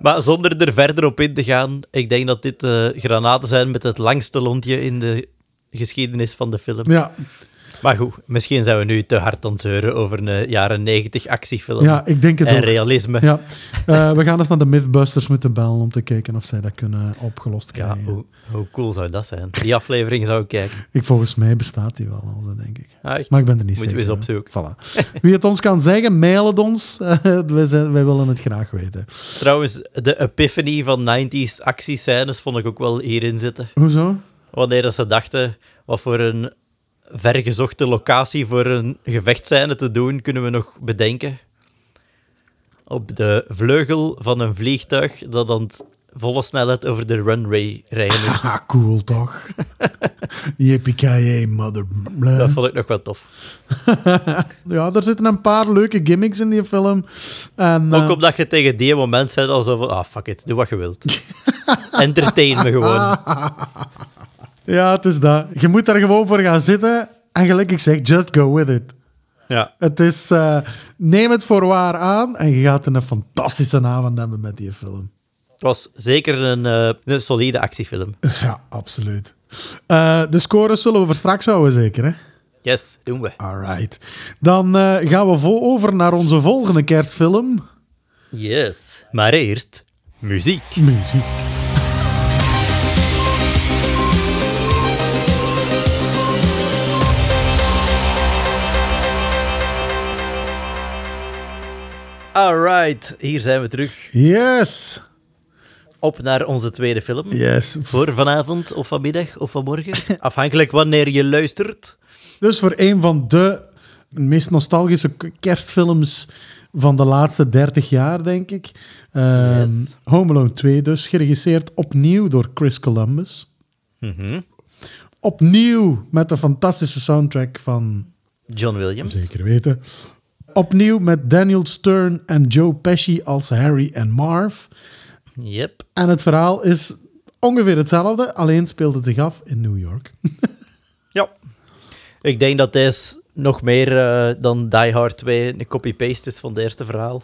[SPEAKER 2] Maar zonder er verder op in te gaan, ik denk dat dit eh, granaten zijn met het langste lontje in de geschiedenis van de film.
[SPEAKER 1] ja,
[SPEAKER 2] Maar goed, misschien zijn we nu te hard aan het zeuren over een eh, jaren negentig actiefilm
[SPEAKER 1] ja, ik denk het
[SPEAKER 2] en
[SPEAKER 1] ook.
[SPEAKER 2] realisme.
[SPEAKER 1] Ja, Eh, we gaan eens naar de Mythbusters moeten bellen om te kijken of zij dat kunnen opgelost
[SPEAKER 2] Ja,
[SPEAKER 1] krijgen.
[SPEAKER 2] hoe, hoe cool zou dat zijn? Die aflevering zou ik kijken.
[SPEAKER 1] ik, volgens mij bestaat die wel al, zo denk ik.
[SPEAKER 2] Ah, echt?
[SPEAKER 1] Maar ik ben er niet
[SPEAKER 2] Moeten we
[SPEAKER 1] zeker.
[SPEAKER 2] eens
[SPEAKER 1] hè.
[SPEAKER 2] opzoeken.
[SPEAKER 1] Voilà. Wie het ons kan zeggen, mail het ons. Eh, wij, zijn, wij willen het graag weten.
[SPEAKER 2] Trouwens, de epiphany van 90s actiescènes vond ik ook wel hierin zitten.
[SPEAKER 1] Hoezo?
[SPEAKER 2] Wanneer dat ze dachten, wat voor een vergezochte locatie voor een gevechtscène te doen, kunnen we nog bedenken. Op de vleugel van een vliegtuig dat aan het volle snelheid over de runway rijden is.
[SPEAKER 1] Haha, Ah, cool toch? Yippie mother...
[SPEAKER 2] Dat vond ik nog wel tof.
[SPEAKER 1] Ja, er zitten een paar leuke gimmicks in die film. En, eh,
[SPEAKER 2] Ook omdat je tegen die moment zei al zo van, ah fuck it, doe wat je wilt. Entertain me gewoon.
[SPEAKER 1] ja, het is dat. Je moet daar gewoon voor gaan zitten. En gelijk ik zeg, just go with it.
[SPEAKER 2] Ja.
[SPEAKER 1] Het is, eh, neem het voor waar aan en je gaat een fantastische avond hebben met die film.
[SPEAKER 2] Het was zeker een, eh, een solide actiefilm.
[SPEAKER 1] Ja, absoluut. Eh, de scores zullen we voor straks houden, zeker, hè?
[SPEAKER 2] Yes, doen we.
[SPEAKER 1] Alright. Dan eh, gaan we vo- over naar onze volgende kerstfilm.
[SPEAKER 2] Yes. Maar eerst, muziek.
[SPEAKER 1] Muziek.
[SPEAKER 2] Alright, hier zijn we terug.
[SPEAKER 1] Yes.
[SPEAKER 2] Op naar onze tweede film.
[SPEAKER 1] Yes.
[SPEAKER 2] Voor vanavond of vanmiddag of vanmorgen. Afhankelijk wanneer je luistert.
[SPEAKER 1] Dus voor een van de de meest nostalgische k- kerstfilms van de laatste 30 jaar, denk ik. Ehm,
[SPEAKER 2] Yes.
[SPEAKER 1] Home Alone 2 dus, geregisseerd opnieuw door Chris Columbus.
[SPEAKER 2] Mhm.
[SPEAKER 1] Opnieuw met de fantastische soundtrack van
[SPEAKER 2] John Williams.
[SPEAKER 1] Zeker weten. Opnieuw met Daniel Stern en Joe Pesci als Harry en Marv.
[SPEAKER 2] Yep.
[SPEAKER 1] En het verhaal is ongeveer hetzelfde, alleen speelt het zich af in New York.
[SPEAKER 2] Ja. Ik denk dat deze nog meer eh, dan Die Hard 2 een copy-paste is van het eerste verhaal.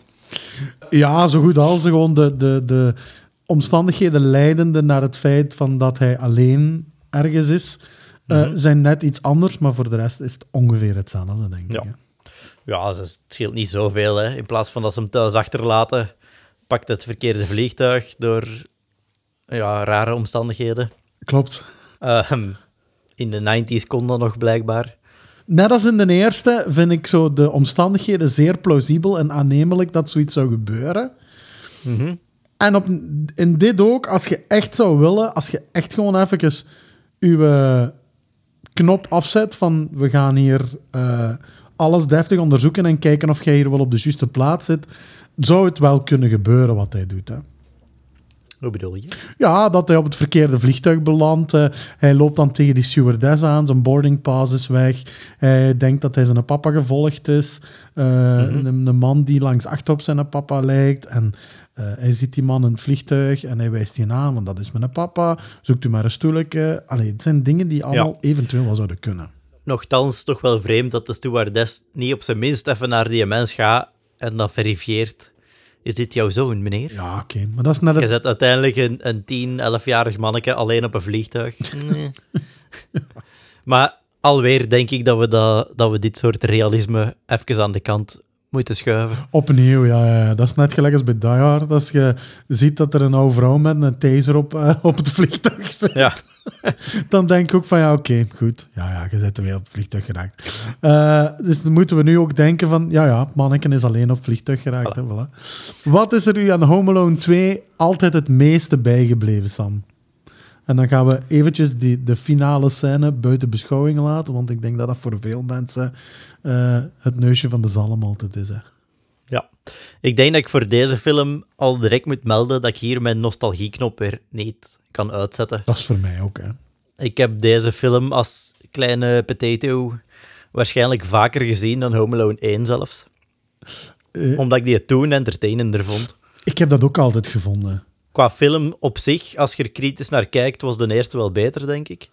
[SPEAKER 1] ja, zo goed als gewoon de, de, de omstandigheden leidende naar het feit van dat hij alleen ergens is, eh, zijn net iets anders, maar voor de rest is het ongeveer hetzelfde, denk ik.
[SPEAKER 2] Ja.
[SPEAKER 1] hè.
[SPEAKER 2] Ja, dus het scheelt niet zoveel. Hè. In plaats van dat ze hem thuis achterlaten, pakt het verkeerde vliegtuig door ja, rare omstandigheden.
[SPEAKER 1] Klopt.
[SPEAKER 2] Ehm, in de 90s kon dat nog blijkbaar.
[SPEAKER 1] Net als in de eerste vind ik zo de omstandigheden zeer plausibel en aannemelijk dat zoiets zou gebeuren. En op, in dit ook, als je echt zou willen, als je echt gewoon even je knop afzet van we gaan hier eh, alles deftig onderzoeken en kijken of jij hier wel op de juiste plaats zit, zou het wel kunnen gebeuren wat hij doet. Hè?
[SPEAKER 2] Hoe bedoel je?
[SPEAKER 1] Ja, dat hij op het verkeerde vliegtuig belandt. eh, hij loopt dan tegen die stewardess aan. Zijn boarding pass is weg. Hij denkt dat hij zijn papa gevolgd is. Eh, een, een man die langs achterop zijn papa lijkt. En eh, hij ziet die man in het vliegtuig en hij wijst die aan, want dat is mijn papa. Zoekt u maar een stoelje. Allee, het zijn dingen die allemaal eventueel wel zouden kunnen.
[SPEAKER 2] Nochtans, toch wel vreemd dat de stewardess niet op zijn minst even naar die mens gaat en dan verifieert. Is dit jouw zoon, meneer?
[SPEAKER 1] Ja, oké. Maar dat is net het
[SPEAKER 2] Je zet uiteindelijk een, een 10, 11-jarig manneke alleen op een vliegtuig. Nee. maar alweer denk ik dat we, dat, dat we dit soort realisme even aan de kant moeten schuiven.
[SPEAKER 1] Opnieuw, ja, ja, ja. Dat is net gelijk als bij Die Hard. Als je ziet dat er een oude vrouw met een taser op, eh, op het vliegtuig zit,
[SPEAKER 2] Ja.
[SPEAKER 1] dan denk ik ook van ja, oké, goed. Ja, ja, je zit weer op het vliegtuig geraakt. Eh, dus dan moeten we nu ook denken van ja, ja, het manneken is alleen op het vliegtuig geraakt. Hè, voilà. Wat is er u aan Home Alone 2 altijd het meeste bijgebleven, Sam? En dan gaan we eventjes die, de finale scène buiten beschouwing laten, want ik denk dat dat voor veel mensen eh, het neusje van de zalm altijd is. Hè.
[SPEAKER 2] ja. Ik denk dat ik voor deze film al direct moet melden dat ik hier mijn nostalgieknop weer niet kan uitzetten.
[SPEAKER 1] Dat is voor mij ook, hè.
[SPEAKER 2] Ik heb deze film als kleine potato waarschijnlijk vaker gezien dan Home Alone 1 zelfs.
[SPEAKER 1] Eh.
[SPEAKER 2] Omdat ik die toen entertainender vond.
[SPEAKER 1] Ik heb dat ook altijd gevonden.
[SPEAKER 2] qua film op zich, als je er kritisch naar kijkt, was de eerste wel beter, denk ik.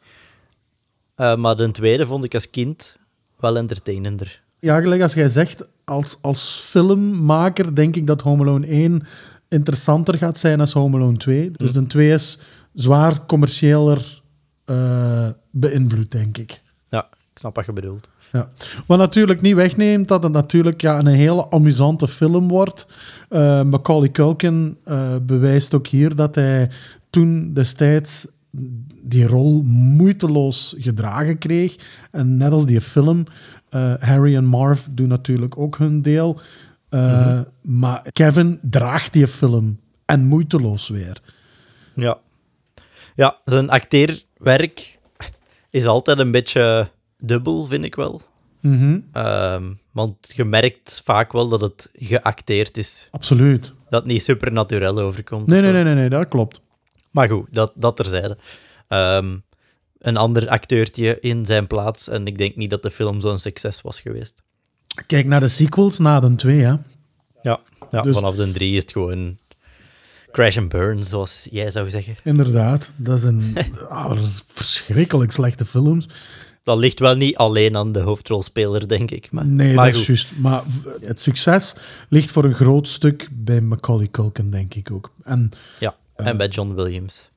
[SPEAKER 2] Eh, maar de tweede vond ik als kind wel entertainender.
[SPEAKER 1] Ja, gelijk als jij zegt, als, als filmmaker denk ik dat Home Alone 1 interessanter gaat zijn als Home Alone 2. Dus de 2 is zwaar commerciëler eh, beïnvloed, denk ik.
[SPEAKER 2] Ja, ik snap wat je bedoelt.
[SPEAKER 1] Ja. Wat natuurlijk niet wegneemt dat het natuurlijk ja, een hele amusante film wordt. Eh, Macaulay Culkin eh, bewijst ook hier dat hij toen destijds die rol moeiteloos gedragen kreeg. En net als die film, eh, Harry en Marv doen natuurlijk ook hun deel. Eh, Maar Kevin draagt die film en moeiteloos weer.
[SPEAKER 2] Ja. Ja, zijn acteerwerk is altijd een beetje dubbel, vind ik wel.
[SPEAKER 1] Mhm,
[SPEAKER 2] Ehm, want je merkt vaak wel dat het geacteerd is.
[SPEAKER 1] Absoluut.
[SPEAKER 2] Dat het niet supernatuurel overkomt.
[SPEAKER 1] Nee,
[SPEAKER 2] of
[SPEAKER 1] nee,
[SPEAKER 2] zo.
[SPEAKER 1] nee, nee, nee, dat klopt.
[SPEAKER 2] Maar goed, dat, dat terzijde. Ehm, een ander acteurtje in zijn plaats. En ik denk niet dat de film zo'n succes was geweest.
[SPEAKER 1] Kijk naar de sequels na de 2, hè.
[SPEAKER 2] Ja, ja
[SPEAKER 1] Dus-
[SPEAKER 2] vanaf de drie is het gewoon crash and burn, zoals jij zou zeggen.
[SPEAKER 1] Inderdaad, dat zijn ah, dat is verschrikkelijk slechte films.
[SPEAKER 2] Dat ligt wel niet alleen aan de hoofdrolspeler, denk ik. Maar,
[SPEAKER 1] Nee,
[SPEAKER 2] maar
[SPEAKER 1] dat is
[SPEAKER 2] goed.
[SPEAKER 1] juist. Maar v- het succes ligt voor een groot stuk bij Macaulay Culkin, denk ik ook. En
[SPEAKER 2] Ja,
[SPEAKER 1] Eh.
[SPEAKER 2] en bij John Williams.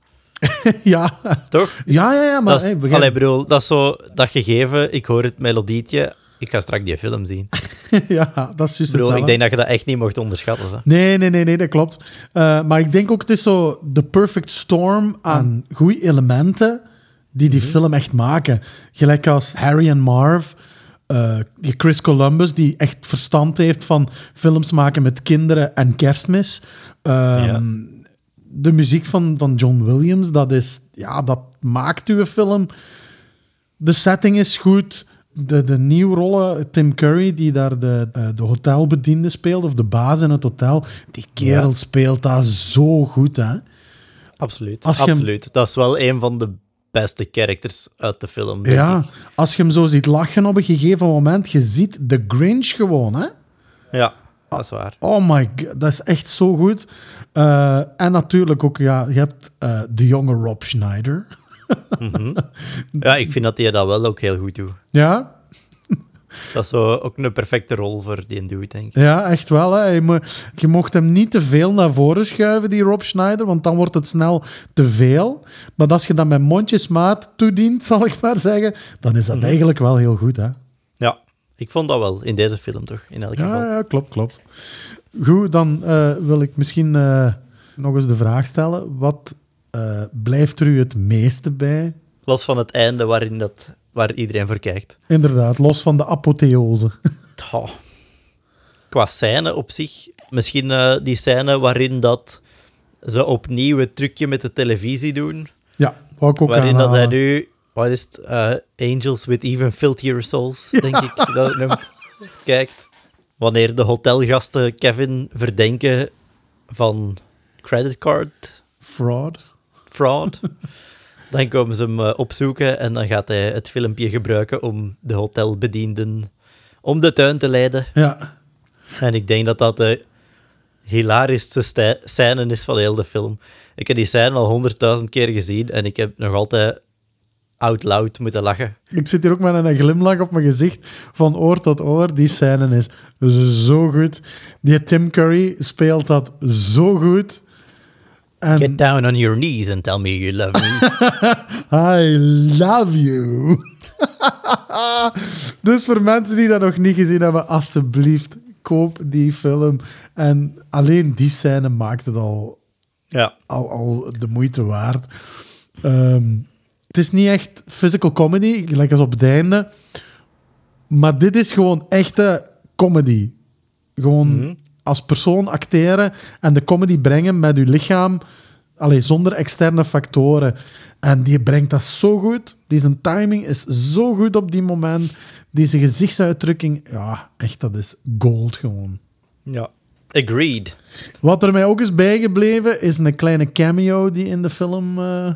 [SPEAKER 1] ja,
[SPEAKER 2] Toch?
[SPEAKER 1] ja, ja, ja maar
[SPEAKER 2] dat is,
[SPEAKER 1] hey, begrijp-
[SPEAKER 2] Allee, bedoel, dat is zo, dat gegeven, ik hoor het melodietje, ik ga straks die film zien. Ik
[SPEAKER 1] ja, dat is juist
[SPEAKER 2] bedoel, ik
[SPEAKER 1] hetzelfde.
[SPEAKER 2] denk dat je dat echt niet mocht onderschatten. Hè?
[SPEAKER 1] Nee, nee, nee, nee, dat klopt. Eh, maar ik denk ook, het is zo de perfect storm aan goede elementen die die film echt maken. Gelijk als Harry en Marv, eh, die Chris Columbus, die echt verstand heeft van films maken met kinderen en kerstmis. Ehm,
[SPEAKER 2] Ja.
[SPEAKER 1] De muziek van, van John Williams, dat, is, ja, dat maakt uw film. De setting is goed. De, de nieuwrollen, Tim Curry, die daar de, eh, de hotelbediende speelt, of de baas in het hotel, die kerel
[SPEAKER 2] Ja.
[SPEAKER 1] speelt dat zo goed, hè?
[SPEAKER 2] Absoluut.
[SPEAKER 1] Als je hem-
[SPEAKER 2] Absoluut. Dat is wel een van de beste characters uit de film. denk
[SPEAKER 1] Ja,
[SPEAKER 2] ik.
[SPEAKER 1] als je hem zo ziet lachen op een gegeven moment, je ziet de Grinch gewoon, hè? Ah.
[SPEAKER 2] Ja, dat is waar.
[SPEAKER 1] Oh my god, dat is echt zo goed. Eh, en natuurlijk ook, ja, je hebt eh, de jonge Rob Schneider.
[SPEAKER 2] Ja, ik vind dat hij dat wel ook heel goed doet.
[SPEAKER 1] Ja,
[SPEAKER 2] Dat is zo ook een perfecte rol voor die dude, denk ik.
[SPEAKER 1] ja echt wel. Hè. Je, mo- je mocht hem niet te veel naar voren schuiven, die Rob Schneider, want dan wordt het snel te veel. Maar als je dat met mondjesmaat toedient, zal ik maar zeggen, dan is dat eigenlijk wel heel goed, hè?
[SPEAKER 2] Ja, ik vond dat wel in deze film toch, in elk geval.
[SPEAKER 1] Ja, ja, klopt, klopt. Goed, dan eh, wil ik misschien eh, nog eens de vraag stellen. Wat eh, blijft er u het meeste bij?
[SPEAKER 2] Los van het einde waarin dat, waar iedereen voor kijkt.
[SPEAKER 1] Inderdaad, los van de apotheose.
[SPEAKER 2] Goh. Qua scène op zich, misschien eh, die scène waarin dat ze opnieuw het trucje met de televisie doen.
[SPEAKER 1] ja, wou ik ook
[SPEAKER 2] waarin dat hij
[SPEAKER 1] aanhalen.
[SPEAKER 2] nu, wat is het, eh, Angels with Even Filthier Souls, denk ik dat het noemt, kijkt. Wanneer de hotelgasten Kevin verdenken van creditcard
[SPEAKER 1] Fraud.
[SPEAKER 2] fraud, dan komen ze hem eh, opzoeken en dan gaat hij het filmpje gebruiken om de hotelbedienden om de tuin te leiden.
[SPEAKER 1] Ja.
[SPEAKER 2] En ik denk dat dat de hilarischste stij- scène is van heel de film. Ik heb die scène al honderdduizend keer gezien en ik heb nog altijd out loud moeten lachen.
[SPEAKER 1] Ik zit hier ook met een glimlach op mijn gezicht, van oor tot oor. Die scène is zo goed. Die Tim Curry speelt dat zo goed. En
[SPEAKER 2] Get down on your knees and tell me you love me.
[SPEAKER 1] I love you. dus voor mensen die dat nog niet gezien hebben, alsjeblieft, koop die film. En alleen die scène maakt het al
[SPEAKER 2] ja.
[SPEAKER 1] al, al de moeite waard. Ehm, het is niet echt physical comedy, gelijk als op het einde. Maar dit is gewoon echte comedy. Gewoon als persoon acteren en de comedy brengen met uw lichaam. Allee, zonder externe factoren. En die brengt dat zo goed. Die zijn timing is zo goed op die moment. Deze gezichtsuitdrukking. Ja, echt, dat is gold gewoon.
[SPEAKER 2] ja. Agreed.
[SPEAKER 1] Wat er mij ook is bijgebleven, is een kleine cameo die in de film... eh,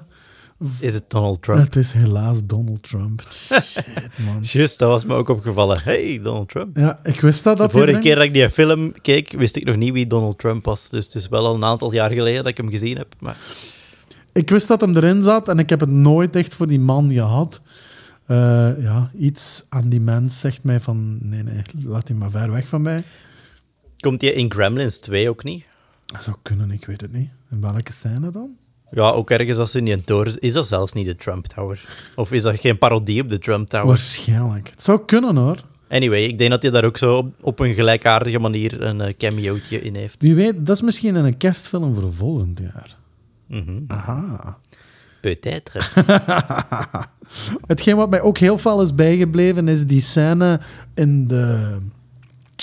[SPEAKER 2] Is het Donald Trump?
[SPEAKER 1] het is helaas Donald Trump. Shit, man.
[SPEAKER 2] Juist, dat was me ook opgevallen. Hey, Donald Trump.
[SPEAKER 1] Ja, ik wist dat. dat
[SPEAKER 2] de vorige
[SPEAKER 1] hij
[SPEAKER 2] keer
[SPEAKER 1] erin-
[SPEAKER 2] dat ik die film keek, wist ik nog niet wie Donald Trump was. Dus het is wel al een aantal jaar geleden dat ik hem gezien heb. Maar
[SPEAKER 1] Ik wist dat hem erin zat en ik heb het nooit echt voor die man gehad. Eh, ja, iets aan die mens zegt mij van... Nee, nee, laat die maar ver weg van mij.
[SPEAKER 2] komt hij in Gremlins 2 ook niet?
[SPEAKER 1] Dat zou kunnen, ik weet het niet. En welke scène dan?
[SPEAKER 2] Ja, ook ergens als ze in die toren is. Is dat zelfs niet de Trump Tower? Of is dat geen parodie op de Trump Tower?
[SPEAKER 1] Waarschijnlijk. Het zou kunnen, hoor.
[SPEAKER 2] Anyway, ik denk dat hij daar ook zo op, op een gelijkaardige manier een eh, cameootje in heeft.
[SPEAKER 1] Wie weet, dat is misschien een kerstfilm voor volgend jaar.
[SPEAKER 2] Mhm.
[SPEAKER 1] Aha.
[SPEAKER 2] Peut-être.
[SPEAKER 1] Hetgeen wat mij ook heel fel is bijgebleven is die scène in de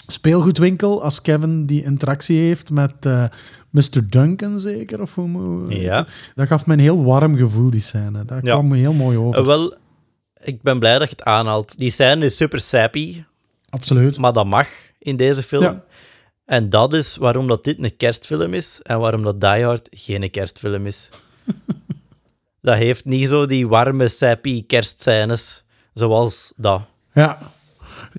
[SPEAKER 1] speelgoedwinkel als Kevin die interactie heeft met eh, Mr. Duncan zeker of hoe moet- hoe heet
[SPEAKER 2] Ja.
[SPEAKER 1] het? Dat gaf me een heel warm gevoel die scène. Dat
[SPEAKER 2] Ja.
[SPEAKER 1] kwam me heel mooi over.
[SPEAKER 2] Eh, Wel, ik ben blij dat je het aanhaalt. Die scène is super sappy,
[SPEAKER 1] Absoluut.
[SPEAKER 2] maar dat mag in deze film.
[SPEAKER 1] Ja.
[SPEAKER 2] En dat is waarom dat dit een kerstfilm is en waarom dat Die Hard geen kerstfilm is. dat heeft niet zo die warme, sappy kerstscènes zoals dat.
[SPEAKER 1] Ja.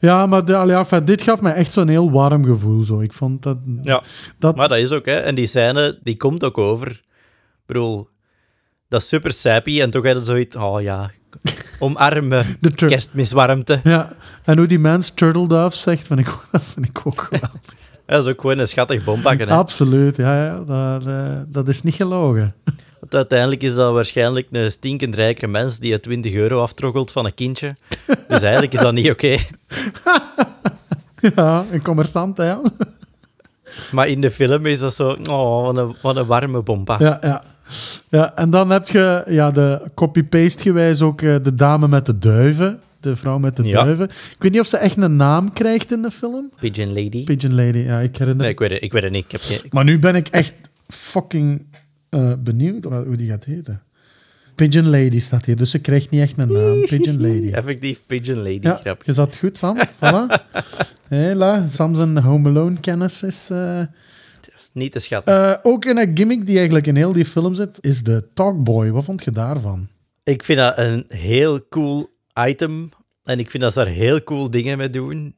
[SPEAKER 1] Ja, maar de, allee, enfin, dit gaf mij echt zo'n heel warm gevoel. Zo. Ik vond dat...
[SPEAKER 2] Ja.
[SPEAKER 1] dat
[SPEAKER 2] Maar dat is ook, hè. En die scène, die komt ook over. Ik bedoel, dat is super sappy en toch had het zoiets... Oh ja, omarmen,
[SPEAKER 1] de tur-
[SPEAKER 2] kerstmiswarmte.
[SPEAKER 1] ja. En hoe die mens Turtle Dove zegt, vind ik, dat vind ik ook geweldig.
[SPEAKER 2] Dat is ook gewoon een schattig bompakken, hè.
[SPEAKER 1] Absoluut, ja. ja dat, eh, dat is niet gelogen.
[SPEAKER 2] Want uiteindelijk is dat waarschijnlijk een stinkend rijke mens die je 20 euro aftroggelt van een kindje. Dus eigenlijk is dat niet oké.
[SPEAKER 1] Ja, een commerçant, hè. ja.
[SPEAKER 2] Maar in de film is dat zo... Oh, wat een, wat een warme bompa.
[SPEAKER 1] Ja, ja. ja en dan heb je ja, de copy-paste gewijs ook eh, de dame met de duiven. De vrouw met de
[SPEAKER 2] Ja.
[SPEAKER 1] duiven. Ik weet niet of ze echt een naam krijgt in de film.
[SPEAKER 2] Pigeon lady.
[SPEAKER 1] Pigeon Lady, ja, ik herinner
[SPEAKER 2] Nee,
[SPEAKER 1] me.
[SPEAKER 2] ik weet het, ik weet het niet. Ik heb geen...
[SPEAKER 1] Maar nu ben ik echt fucking eh, benieuwd wat- hoe die gaat heten. Pigeon Lady staat hier, dus ze krijgt niet echt een naam. Pigeon Lady.
[SPEAKER 2] Effectief Pigeon Lady
[SPEAKER 1] Ja,
[SPEAKER 2] grap.
[SPEAKER 1] je zat goed, Sam. Voilà. Hela, Sam zijn Home Alone-kennis is... eh,
[SPEAKER 2] Niet te schatten.
[SPEAKER 1] eh, ook een gimmick die eigenlijk in heel die film zit, is de Talkboy. Wat vond je daarvan?
[SPEAKER 2] Ik vind dat een heel cool item. En ik vind dat ze daar heel cool dingen mee doen.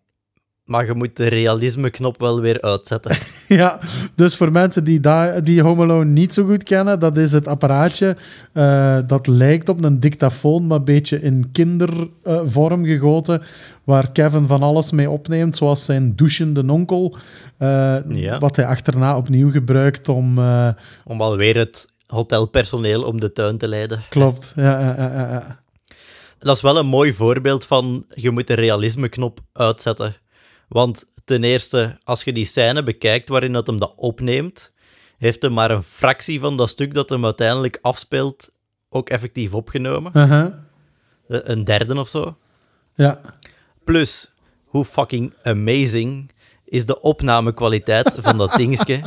[SPEAKER 2] Maar je moet de realisme-knop wel weer uitzetten.
[SPEAKER 1] Ja, dus voor mensen die, daar, die Home Alone niet zo goed kennen, dat is het apparaatje eh, dat lijkt op een dictafoon, maar een beetje in kindervorm gegoten, waar Kevin van alles mee opneemt, zoals zijn douchende onkel, eh,
[SPEAKER 2] Ja.
[SPEAKER 1] wat hij achterna opnieuw gebruikt om... eh,
[SPEAKER 2] Om alweer het hotelpersoneel om de tuin te leiden.
[SPEAKER 1] klopt, ja, ja, ja, ja, ja.
[SPEAKER 2] Dat is wel een mooi voorbeeld van je moet de realisme-knop uitzetten. Want ten eerste, als je die scène bekijkt waarin dat hem dat opneemt, heeft hem maar een fractie van dat stuk dat hem uiteindelijk afspeelt ook effectief opgenomen.
[SPEAKER 1] Uh-huh.
[SPEAKER 2] Eh, Een derde of zo.
[SPEAKER 1] Ja,
[SPEAKER 2] Plus, hoe fucking amazing is de opnamekwaliteit van dat dingetje.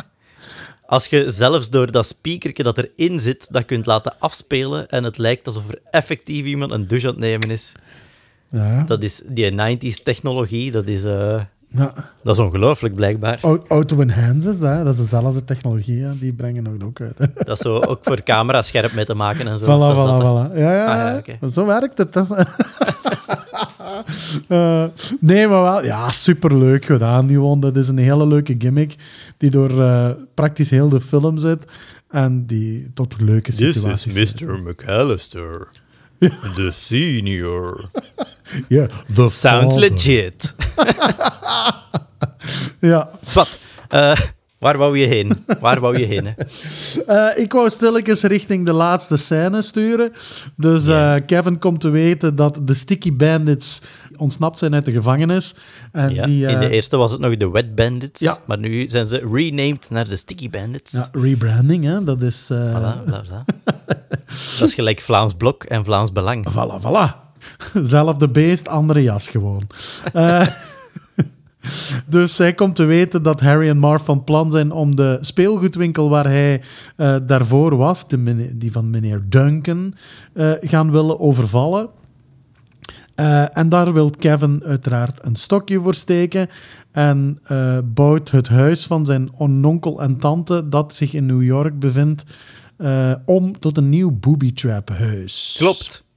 [SPEAKER 2] Als je zelfs door dat speakertje dat erin zit, dat kunt laten afspelen en het lijkt alsof er effectief iemand een douche aan het nemen is.
[SPEAKER 1] ja.
[SPEAKER 2] Dat is die 90s technologie, dat is, eh,
[SPEAKER 1] ja.
[SPEAKER 2] dat is ongelooflijk blijkbaar.
[SPEAKER 1] Au- Auto Enhance is dat, hè. dat is dezelfde technologie, hè. die brengen ook, ook uit. hè.
[SPEAKER 2] Dat is zo ook voor camera scherp mee te maken en zo.
[SPEAKER 1] Voilà,
[SPEAKER 2] Dat is
[SPEAKER 1] voilà,
[SPEAKER 2] dat-
[SPEAKER 1] voilà. Ja, ja,
[SPEAKER 2] Ah, ja,
[SPEAKER 1] ja.
[SPEAKER 2] oké.
[SPEAKER 1] Zo werkt het. Dat is- Eh, nee, maar wel. Ja, superleuk gedaan, Johan. Dat is een hele leuke gimmick die door eh, praktisch heel de film zit. En die tot leuke situaties leidt.
[SPEAKER 2] McAllister, the senior.
[SPEAKER 1] Ja, the
[SPEAKER 2] Sounds
[SPEAKER 1] father.
[SPEAKER 2] legit.
[SPEAKER 1] Ja.
[SPEAKER 2] Wat? Eh, waar wou je heen? Waar wou je heen? hè?
[SPEAKER 1] Eh, ik wou stilletjes richting de laatste scène sturen. Dus eh, Kevin komt te weten dat de Sticky Bandits ontsnapt zijn uit de gevangenis. En
[SPEAKER 2] Ja,
[SPEAKER 1] die, eh,
[SPEAKER 2] in de eerste was het nog de Wet Bandits,
[SPEAKER 1] Ja.
[SPEAKER 2] maar nu zijn ze renamed naar de Sticky Bandits.
[SPEAKER 1] ja, rebranding, hè. Dat is... eh,
[SPEAKER 2] Voilà, voilà, voilà. dat is gelijk Vlaams Blok en Vlaams Belang.
[SPEAKER 1] Voilà, voilà. Zelfde beest, andere jas gewoon. Eh, dus hij komt te weten dat Harry en Marv van plan zijn om de speelgoedwinkel waar hij eh, daarvoor was, de mene- die van meneer Duncan, eh, gaan willen overvallen. Eh, en daar wil Kevin uiteraard een stokje voor steken. En eh, bouwt het huis van zijn ononkel en tante, dat zich in New York bevindt, eh, om tot een nieuw booby trap huis.
[SPEAKER 2] Klopt.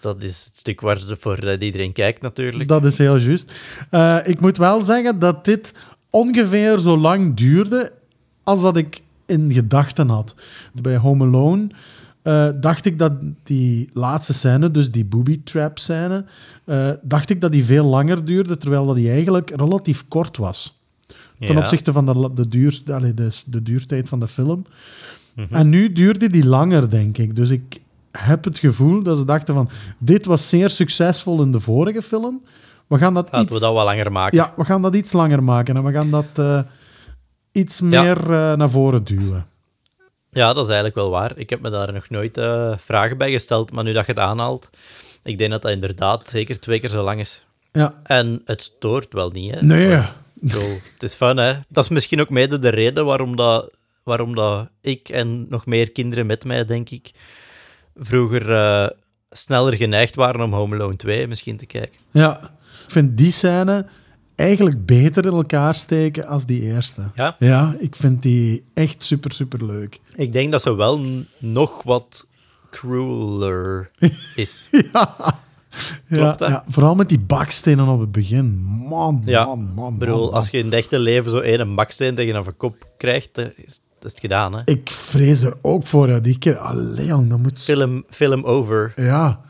[SPEAKER 2] Dat is het stuk waar de- voor eh, iedereen kijkt natuurlijk.
[SPEAKER 1] Dat is heel juist. Eh, ik moet wel zeggen dat dit ongeveer zo lang duurde als dat ik in gedachten had. Bij Home Alone eh, dacht ik dat die laatste scène, dus die booby trap scène, eh, dacht ik dat die veel langer duurde, terwijl dat die eigenlijk relatief kort was. Ten
[SPEAKER 2] Ja.
[SPEAKER 1] opzichte van de, la- de, duur, allee, de, de duurtijd van de film.
[SPEAKER 2] Mhm.
[SPEAKER 1] En nu duurde die langer, denk ik. Dus ik heb het gevoel dat ze dachten van... Dit was zeer succesvol in de vorige film. We gaan dat,
[SPEAKER 2] Laten
[SPEAKER 1] iets,
[SPEAKER 2] we dat wel langer maken.
[SPEAKER 1] ja, we gaan dat iets langer maken. En we gaan dat eh, iets meer eh, naar voren duwen.
[SPEAKER 2] Ja, dat is eigenlijk wel waar. Ik heb me daar nog nooit eh, vragen bij gesteld, maar nu dat je het aanhaalt, ik denk dat dat inderdaad zeker twee keer zo lang is.
[SPEAKER 1] Ja.
[SPEAKER 2] En het stoort wel niet, hè?
[SPEAKER 1] Nee.
[SPEAKER 2] Ik bedoel, het is fun, hè? Dat is misschien ook mede de reden waarom, dat, waarom dat ik en nog meer kinderen met mij, denk ik, vroeger eh, sneller geneigd waren om Home Alone 2 misschien te kijken.
[SPEAKER 1] Ja. Ik vind die scène eigenlijk beter in elkaar steken als die eerste.
[SPEAKER 2] Ja?
[SPEAKER 1] Ja, ik vind die echt super, super leuk.
[SPEAKER 2] Ik denk dat ze wel n- nog wat crueler is.
[SPEAKER 1] Ja.
[SPEAKER 2] Klopt,
[SPEAKER 1] ja,
[SPEAKER 2] hè?
[SPEAKER 1] ja, vooral met die bakstenen op het begin. Man,
[SPEAKER 2] Ja,
[SPEAKER 1] man, man. man,
[SPEAKER 2] Ik bedoel, als je in het echte leven zo één baksteen tegen een kop krijgt, dan is, dat is het gedaan, hè?
[SPEAKER 1] man. Ik vrees er ook voor dat die keer. Allee, jong, dat moet.
[SPEAKER 2] Film, film over,
[SPEAKER 1] Ja,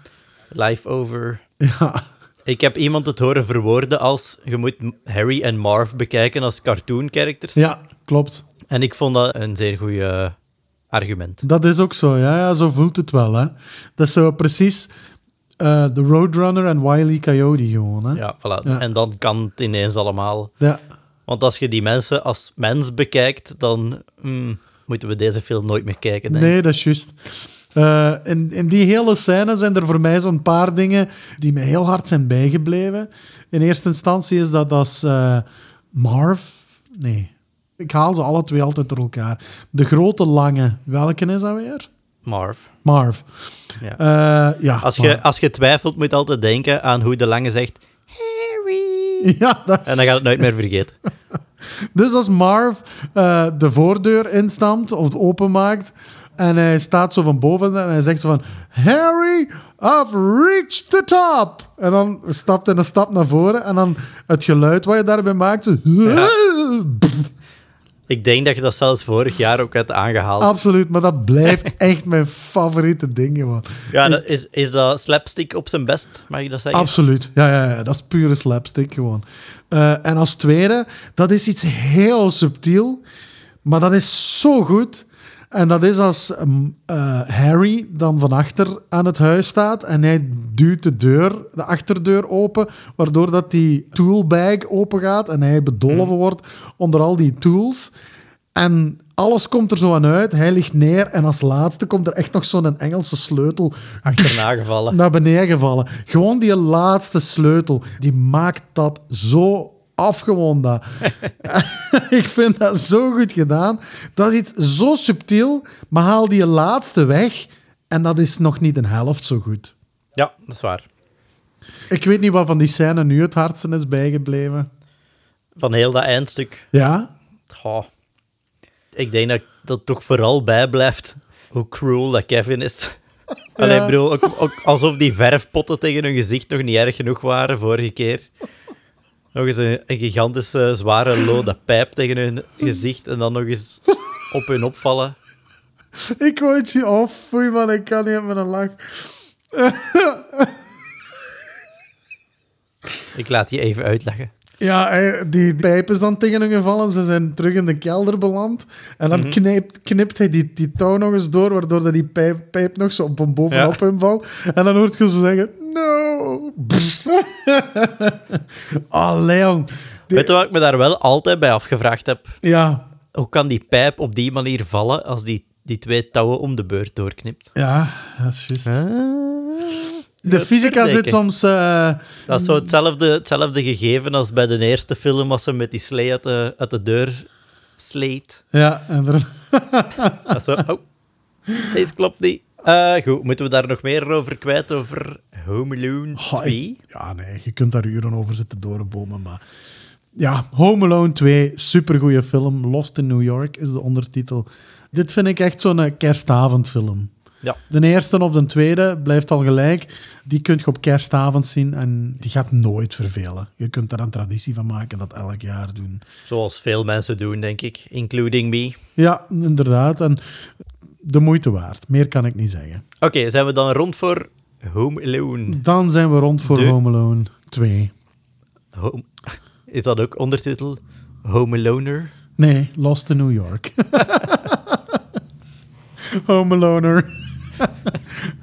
[SPEAKER 2] life over.
[SPEAKER 1] ja.
[SPEAKER 2] Ik heb iemand het horen verwoorden als je moet Harry en Marv bekijken als cartoon characters.
[SPEAKER 1] Ja, klopt.
[SPEAKER 2] En ik vond dat een zeer goed eh, argument.
[SPEAKER 1] Dat is ook zo. Ja, ja zo voelt het wel. Hè. Dat is zo precies eh de Roadrunner en Wile E. Coyote gewoon. Hè.
[SPEAKER 2] Ja, voilà.
[SPEAKER 1] Ja.
[SPEAKER 2] En dan kan het ineens allemaal.
[SPEAKER 1] Ja.
[SPEAKER 2] Want als je die mensen als mens bekijkt, dan hmm, moeten we deze film nooit meer kijken. Denk. ik.
[SPEAKER 1] Nee, dat is juist. Eh, in, in die hele scène zijn er voor mij zo'n paar dingen die me heel hard zijn bijgebleven. In eerste instantie is dat als eh, Marv. Nee, ik haal ze alle twee altijd door elkaar. De grote lange, welke is dat weer?
[SPEAKER 2] Marv.
[SPEAKER 1] Marv.
[SPEAKER 2] Ja.
[SPEAKER 1] Eh, ja,
[SPEAKER 2] Als
[SPEAKER 1] maar-
[SPEAKER 2] je, als je twijfelt, moet je altijd denken aan hoe de lange zegt Harry.
[SPEAKER 1] Ja, dat is-
[SPEAKER 2] En dan gaat het nooit meer vergeten.
[SPEAKER 1] Dus als Marv eh, de voordeur instampt of openmaakt en hij staat zo van boven en hij zegt zo van Harry, I've reached the top. En dan stapt hij een stap naar voren en dan het geluid wat je daarbij maakt. zo,
[SPEAKER 2] Ik denk dat je dat zelfs vorig jaar ook hebt aangehaald.
[SPEAKER 1] Absoluut, maar dat blijft echt mijn favoriete ding. Gewoon.
[SPEAKER 2] ja, dat is, is dat slapstick op zijn best, mag je dat zeggen?
[SPEAKER 1] Absoluut. Ja, ja, ja, dat is pure slapstick gewoon. Eh, en als tweede, dat is iets heel subtiel, maar dat is zo goed. En dat is als ehm, eh, Harry dan van achter aan het huis staat en hij duwt de deur, de achterdeur open, waardoor dat die toolbag open gaat en hij bedolven wordt onder al die tools. En alles komt er zo aan uit. Hij ligt neer en als laatste komt er echt nog zo'n Engelse sleutel
[SPEAKER 2] Achterna gevallen.
[SPEAKER 1] naar beneden gevallen. Gewoon die laatste sleutel, die maakt dat zo afgewoon. dat. ik vind dat zo goed gedaan. Dat is iets zo subtiel, maar haal die laatste weg en dat is nog niet een helft zo goed.
[SPEAKER 2] Ja, dat is waar.
[SPEAKER 1] Ik weet niet wat van die scène nu het hardste is bijgebleven.
[SPEAKER 2] Van heel dat eindstuk.
[SPEAKER 1] Ja?
[SPEAKER 2] Goh. Ik denk dat dat toch vooral bijblijft hoe cruel dat Kevin is. Allee, ik bedoel, ook, ook alsof die verfpotten tegen hun gezicht nog niet erg genoeg waren vorige keer. Nog eens een, een gigantische, zware lode pijp tegen hun gezicht en dan nog eens op hun opvallen.
[SPEAKER 1] Ik word je af. Foei man, ik kan niet met een lach.
[SPEAKER 2] Ik laat die even uitleggen.
[SPEAKER 1] Ja, hij- die pijp is dan tegen hem gevallen. Ze zijn terug in de kelder beland. En
[SPEAKER 2] Mhm.
[SPEAKER 1] dan knijpt, knipt hij die, die touw nog eens door, waardoor dat die pijp, pijp nog zo van bovenop
[SPEAKER 2] Ja.
[SPEAKER 1] hem valt. En dan hoort je zo zeggen, no. Pff. Allee, jong. Die-
[SPEAKER 2] Weet je wat ik me daar wel altijd bij afgevraagd heb?
[SPEAKER 1] ja,
[SPEAKER 2] Hoe kan die pijp op die manier vallen als die, die twee touwen om de beurt doorknipt?
[SPEAKER 1] ja, dat is juist. de fysica zit
[SPEAKER 2] Ah. verdenken.
[SPEAKER 1] soms... eh,
[SPEAKER 2] Dat is zo hetzelfde, hetzelfde gegeven als bij de eerste film, als ze met die slee uit de, uit de deur sleet.
[SPEAKER 1] ja, inderdaad.
[SPEAKER 2] Dat is zo, oh, deze klopt niet. Eh, goed, moeten we daar nog meer over kwijt, over Home Alone
[SPEAKER 1] Goh,
[SPEAKER 2] 2?
[SPEAKER 1] ik- ja, nee, je kunt daar uren over zitten doorbomen, maar... Ja, Home Alone 2, supergoeie film. Lost in New York is de ondertitel. Dit vind ik echt zo'n eh, kerstavondfilm.
[SPEAKER 2] Ja.
[SPEAKER 1] De eerste of de tweede blijft al gelijk. Die kun je op kerstavond zien en die gaat nooit vervelen. Je kunt daar een traditie van maken, dat elk jaar doen.
[SPEAKER 2] Zoals veel mensen doen, denk ik, including me.
[SPEAKER 1] Ja, inderdaad. En de moeite waard. Meer kan ik niet zeggen.
[SPEAKER 2] Oké, zijn we dan rond voor Home Alone?
[SPEAKER 1] Dan zijn we rond voor
[SPEAKER 2] De-
[SPEAKER 1] Home Alone 2.
[SPEAKER 2] Home- Is dat ook ondertitel? Home Aloner?
[SPEAKER 1] Nee, Lost in New York. Home Aloner.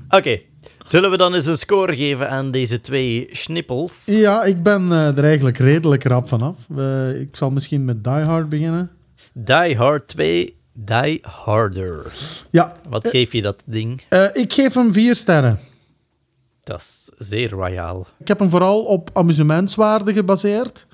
[SPEAKER 2] Oké, zullen we dan eens een score geven aan deze twee schnippels?
[SPEAKER 1] Ja, ik ben eh, er eigenlijk redelijk rap vanaf. Eh, ik zal misschien met Die Hard beginnen.
[SPEAKER 2] Die Hard 2, Die Harder.
[SPEAKER 1] Ja,
[SPEAKER 2] Wat geef je dat ding?
[SPEAKER 1] eh, ik geef hem vier sterren.
[SPEAKER 2] Dat is zeer royaal.
[SPEAKER 1] Ik heb hem vooral op amusementswaarde gebaseerd.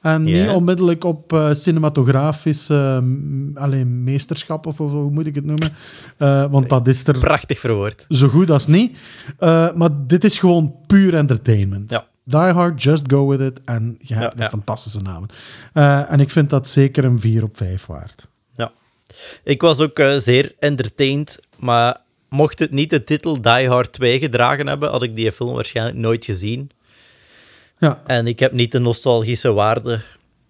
[SPEAKER 1] En
[SPEAKER 2] Ja.
[SPEAKER 1] niet onmiddellijk op eh, cinematografische mm, alleen, meesterschap, of, of hoe moet ik het noemen. Eh, want dat is er
[SPEAKER 2] Prachtig verwoord.
[SPEAKER 1] zo goed als niet. Eh, maar dit is gewoon puur entertainment.
[SPEAKER 2] Ja.
[SPEAKER 1] Die Hard, Just Go With It en je hebt
[SPEAKER 2] Ja,
[SPEAKER 1] een
[SPEAKER 2] ja.
[SPEAKER 1] fantastische namen. Eh, en ik vind dat zeker een 4 op 5 waard.
[SPEAKER 2] Ja. Ik was ook eh, zeer entertained, maar mocht het niet de titel Die Hard 2 gedragen hebben, had ik die film waarschijnlijk nooit gezien.
[SPEAKER 1] Ja,
[SPEAKER 2] En ik heb niet de nostalgische waarde,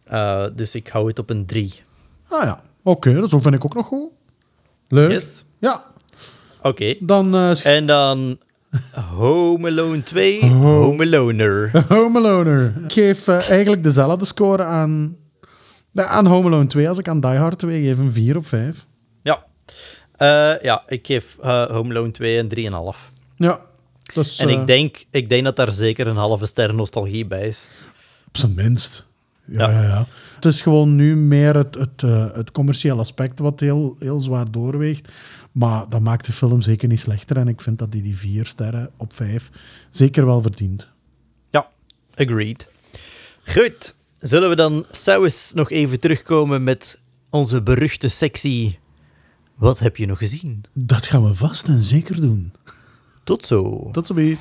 [SPEAKER 2] eh, dus ik hou het op een 3.
[SPEAKER 1] ah ja. Oké, dat zo vind ik ook nog goed. Leuk.
[SPEAKER 2] Yes.
[SPEAKER 1] Ja,
[SPEAKER 2] Oké.
[SPEAKER 1] dan eh sch-
[SPEAKER 2] En dan Home Alone 2, Home Aloner.
[SPEAKER 1] Home Aloner. Ik geef eh, eigenlijk dezelfde score aan, nou, aan Home Alone 2 als ik aan Die Hard 2 geef. Een 4 op 5.
[SPEAKER 2] Ja. Eh, ja, ik geef eh, Home Alone 2 een 3,5.
[SPEAKER 1] Ja. Dus,
[SPEAKER 2] En
[SPEAKER 1] eh,
[SPEAKER 2] ik denk, ik denk dat daar zeker een halve ster nostalgie bij is.
[SPEAKER 1] Op zijn minst. Ja, ja.
[SPEAKER 2] Ja.
[SPEAKER 1] Ja, Het is gewoon nu meer het, het, eh, het commerciële aspect wat heel, heel zwaar doorweegt. Maar dat maakt de film zeker niet slechter. En ik vind dat die die vier sterren op vijf zeker wel verdient.
[SPEAKER 2] Ja, agreed. Goed, zullen we dan Sauwes nog even terugkomen met onze beruchte sectie Wat heb je nog gezien?
[SPEAKER 1] Dat gaan we vast en zeker doen.
[SPEAKER 2] Tot zo.
[SPEAKER 1] Tot zo bij.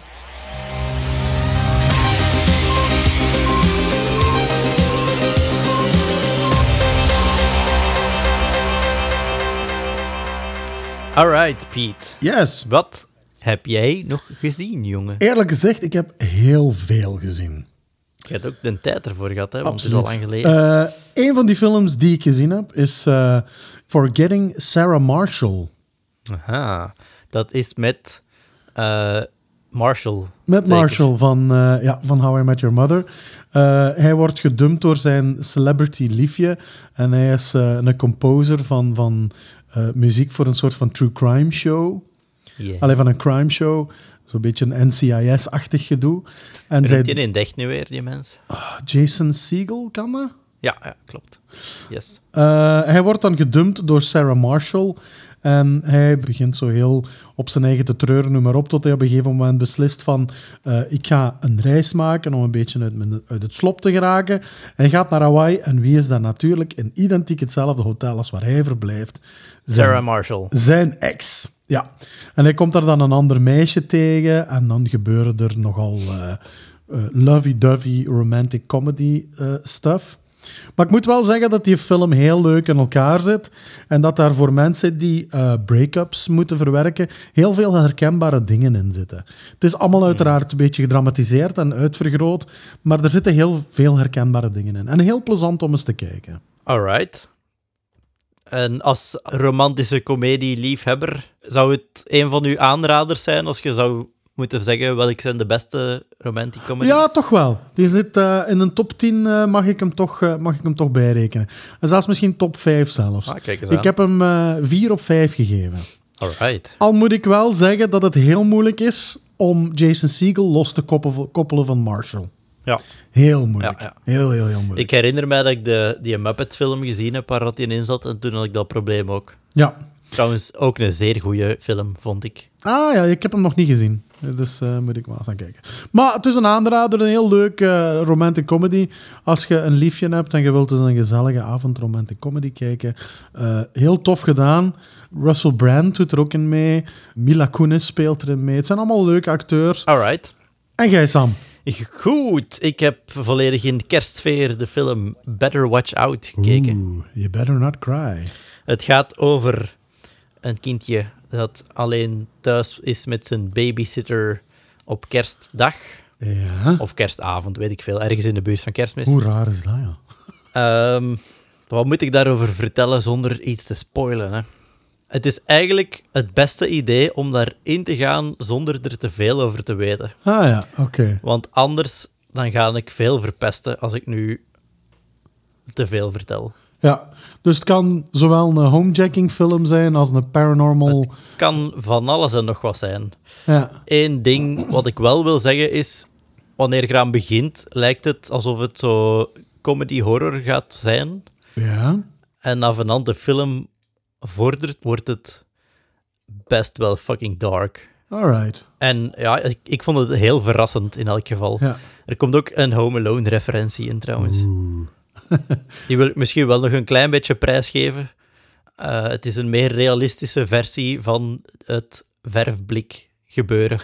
[SPEAKER 2] Alright, Pete.
[SPEAKER 1] Yes.
[SPEAKER 2] Wat heb jij nog gezien, jongen?
[SPEAKER 1] Eerlijk gezegd, ik heb heel veel gezien.
[SPEAKER 2] Je hebt ook de tijd ervoor gehad, hè? Want het is al lang geleden.
[SPEAKER 1] Eh, een van die films die ik gezien heb is eh, Forgetting Sarah Marshall. Eh.
[SPEAKER 2] Aha. Dat is met eh, Marshall.
[SPEAKER 1] Met
[SPEAKER 2] zeker.
[SPEAKER 1] Marshall van, eh, ja, van How I Met Your Mother. Eh, hij wordt gedumpt door zijn celebrity liefje. En hij is eh, een composer van, van eh, muziek voor een soort van true crime show.
[SPEAKER 2] Yeah.
[SPEAKER 1] Alleen van een crime show. Zo'n beetje een NCIS-achtig gedoe. En
[SPEAKER 2] Zit je
[SPEAKER 1] zij, Ah,
[SPEAKER 2] in Dech nu weer, die mens?
[SPEAKER 1] Jason Segel kan dat?
[SPEAKER 2] Ja, ja, klopt. Yes.
[SPEAKER 1] Eh, hij wordt dan gedumpt door Sarah Marshall. En hij begint zo heel op zijn eigen te treuren, noem maar op. Tot hij op een gegeven moment beslist van... eh, ik ga een reis maken om een beetje uit, mijn- uit het slop te geraken. Hij gaat naar Hawaii. En wie is daar natuurlijk in identiek hetzelfde hotel als waar hij verblijft? Zijn-
[SPEAKER 2] Sarah Marshall.
[SPEAKER 1] zijn ex. Ja. En hij komt daar dan een ander meisje tegen. En dan gebeuren er nogal eh eh, lovey-dovey romantic comedy eh, stuff. Maar ik moet wel zeggen dat die film heel leuk in elkaar zit. En dat daar voor mensen die eh, break-ups moeten verwerken, heel veel herkenbare dingen in zitten. Het is allemaal uiteraard een beetje gedramatiseerd en uitvergroot. Maar er zitten heel veel herkenbare dingen in. En heel plezant om eens te kijken.
[SPEAKER 2] Alright. En als romantische comedie-liefhebber, zou het een van uw aanraders zijn als je zou moeten zeggen welke zijn de beste romantic comedies?
[SPEAKER 1] Ja, toch wel. Die zit eh, in een top 10, eh, mag, ik hem toch, eh, mag ik hem toch bijrekenen. En zelfs misschien top 5 zelfs.
[SPEAKER 2] Ah, kijk eens
[SPEAKER 1] ik
[SPEAKER 2] aan.
[SPEAKER 1] heb hem eh 4 op 5 gegeven.
[SPEAKER 2] Alright.
[SPEAKER 1] Al moet ik wel zeggen dat het heel moeilijk is om Jason Segel los te koppelen, koppelen van Marshall.
[SPEAKER 2] Ja.
[SPEAKER 1] Heel moeilijk.
[SPEAKER 2] Ja,
[SPEAKER 1] Heel, heel, heel moeilijk.
[SPEAKER 2] Ik herinner mij dat ik de, die Muppet-film gezien heb waar dat die in zat en toen had ik dat probleem ook.
[SPEAKER 1] Ja.
[SPEAKER 2] Trouwens, ook een zeer goede film, vond ik.
[SPEAKER 1] Ah ja, ik heb hem nog niet gezien. Dus eh, moet ik maar eens gaan kijken. Maar het is een aanrader, een heel leuk eh, romantic comedy. Als je een liefje hebt en je wilt dus een gezellige avond romantic comedy kijken. Eh, heel tof gedaan. Russell Brand doet er ook in mee. Mila Kunis speelt erin mee. Het zijn allemaal leuke acteurs.
[SPEAKER 2] Alright.
[SPEAKER 1] En jij Sam?
[SPEAKER 2] Goed, ik heb volledig in kerstsfeer de film Better Watch Out gekeken.
[SPEAKER 1] Oeh, you better not cry.
[SPEAKER 2] Het gaat over een kindje dat alleen thuis is met zijn babysitter op kerstdag.
[SPEAKER 1] Ja.
[SPEAKER 2] Of kerstavond, weet ik veel. Ergens in de buurt van kerstmis.
[SPEAKER 1] Hoe raar is dat, ja?
[SPEAKER 2] Ehm, wat moet ik daarover vertellen zonder iets te spoilen? Hè? Het is eigenlijk het beste idee om daarin te gaan zonder er te veel over te weten.
[SPEAKER 1] Ah ja, oké.
[SPEAKER 2] Want anders dan ga ik veel verpesten als ik nu te veel vertel.
[SPEAKER 1] Ja, dus het kan zowel een homejacking film zijn als een paranormal...
[SPEAKER 2] Kan van alles en nog wat zijn.
[SPEAKER 1] Ja.
[SPEAKER 2] Eén ding wat ik wel wil zeggen is, wanneer je aan begint, lijkt het alsof het zo comedy-horror gaat zijn.
[SPEAKER 1] Ja.
[SPEAKER 2] En af en aan de film vordert, wordt het best wel fucking dark.
[SPEAKER 1] All right.
[SPEAKER 2] En ja, ik, ik vond het heel verrassend in elk geval.
[SPEAKER 1] Ja.
[SPEAKER 2] Er komt ook een Home Alone referentie in trouwens. Die wil ik misschien wel nog een klein beetje prijsgeven. Eh, het is een meer realistische versie van het verfblik gebeuren.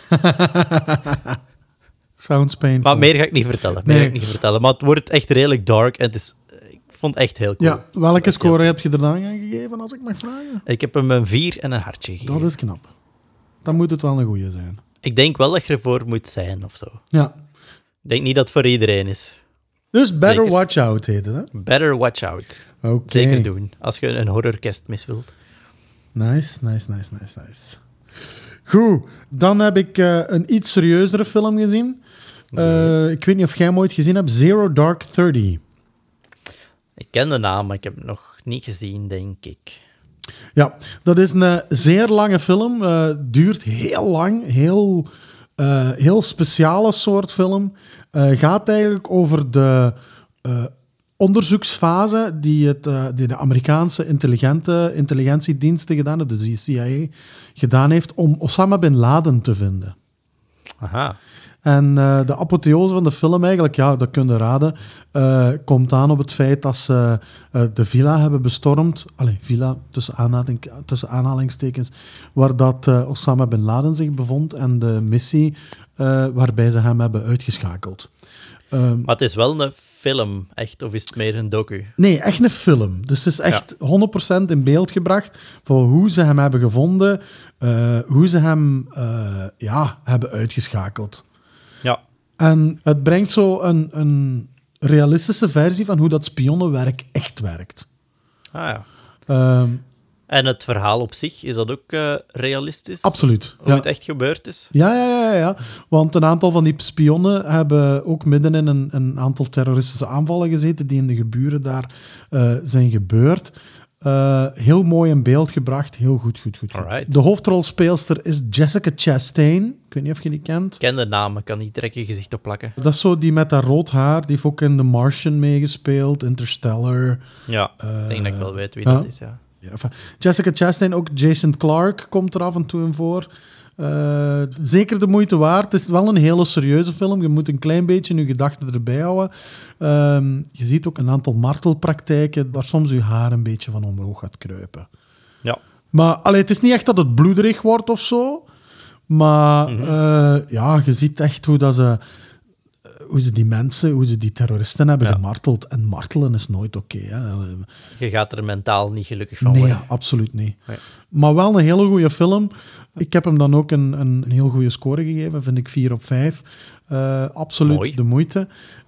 [SPEAKER 1] Sounds painful.
[SPEAKER 2] Maar meer ga ik niet vertellen. Meer
[SPEAKER 1] Nee.
[SPEAKER 2] ga ik niet vertellen. Maar het wordt echt redelijk dark en het is, ik vond het echt heel cool.
[SPEAKER 1] Ja, welke score heb je er dan aan gegeven, als ik mag vragen?
[SPEAKER 2] Ik heb hem een 4 en een hartje gegeven.
[SPEAKER 1] Dat is knap. Dan moet het wel een goeie zijn.
[SPEAKER 2] Ik denk wel dat je ervoor moet zijn of zo.
[SPEAKER 1] Ja.
[SPEAKER 2] Ik denk niet dat het voor iedereen is.
[SPEAKER 1] Dus Better
[SPEAKER 2] Zeker.
[SPEAKER 1] Watch Out heet het, hè?
[SPEAKER 2] Better watch out.
[SPEAKER 1] Oké.
[SPEAKER 2] Zeker doen. Als je een horror kerstmis wilt.
[SPEAKER 1] Nice, nice, nice, nice, nice. Goed, dan heb ik eh, een iets serieuzere film gezien. Eh, Ik weet niet of jij hem ooit gezien hebt. Zero Dark Thirty.
[SPEAKER 2] Ik ken de naam, maar ik heb hem nog niet gezien, denk ik.
[SPEAKER 1] Ja, dat is een eh, zeer lange film. eh, duurt heel lang. Heel, eh, heel speciale soort film. Eh, gaat eigenlijk over de eh, onderzoeksfase die, het, eh, die de Amerikaanse intelligente, intelligentiediensten gedaan hebben, dus de CIA, gedaan heeft om Osama Bin Laden te vinden.
[SPEAKER 2] Aha.
[SPEAKER 1] En eh, de apotheose van de film eigenlijk, ja, dat kun je raden, eh, komt aan op het feit dat ze eh, de villa hebben bestormd. Allee, villa tussen, aanhaling- tussen aanhalingstekens, waar dat eh, Osama Bin Laden zich bevond en de missie eh, waarbij ze hem hebben uitgeschakeld. Ehm,
[SPEAKER 2] Maar het is wel een film, echt, of is het meer een docu?
[SPEAKER 1] Nee, echt een film. Dus het is echt 100% in beeld gebracht van hoe ze hem hebben gevonden, eh, hoe ze hem eh, ja, hebben uitgeschakeld.
[SPEAKER 2] Ja.
[SPEAKER 1] En het brengt zo een, een realistische versie van hoe dat spionnenwerk echt werkt.
[SPEAKER 2] Ah, ja.
[SPEAKER 1] Ehm,
[SPEAKER 2] En het verhaal op zich, is dat ook eh, realistisch?
[SPEAKER 1] absoluut.
[SPEAKER 2] Hoe
[SPEAKER 1] Ja.
[SPEAKER 2] het echt gebeurd is?
[SPEAKER 1] Ja, ja, ja, ja, ja. Want een aantal van die spionnen hebben ook midden in een, een aantal terroristische aanvallen gezeten die in de geburen daar eh, zijn gebeurd. Eh, heel mooi in beeld gebracht. Heel goed, goed, goed. goed.
[SPEAKER 2] Alright.
[SPEAKER 1] De hoofdrolspeelster is Jessica Chastain. Ik weet niet of je die kent.
[SPEAKER 2] Ik ken de namen, kan niet direct je gezicht op plakken.
[SPEAKER 1] Dat is zo die met dat rood haar. Die heeft ook in The Martian meegespeeld, Interstellar.
[SPEAKER 2] Ja, ik denk dat ik wel weet wie dat
[SPEAKER 1] Eh, ja.
[SPEAKER 2] is, ja.
[SPEAKER 1] Ja, enfin, Jessica Chastain, ook Jason Clark komt er af en toe in voor. Eh, zeker de moeite waard. Het is wel een hele serieuze film. Je moet een klein beetje je gedachten erbij houden. Ehm, je ziet ook een aantal martelpraktijken waar soms je haar een beetje van omhoog gaat kruipen.
[SPEAKER 2] Ja.
[SPEAKER 1] Maar allee, het is niet echt dat het bloederig wordt of zo. Maar eh, ja, je ziet echt hoe, dat ze, hoe ze die mensen, hoe ze die terroristen hebben gemarteld. En martelen is nooit oké. hè.
[SPEAKER 2] Je gaat er mentaal niet gelukkig van
[SPEAKER 1] Nee,
[SPEAKER 2] worden.
[SPEAKER 1] ja, absoluut niet.
[SPEAKER 2] Nee.
[SPEAKER 1] Maar wel een hele goede film. Ik heb hem dan ook een, een, een heel goede score gegeven, vind ik 4 op 5. Eh, absoluut
[SPEAKER 2] Mooi.
[SPEAKER 1] de moeite.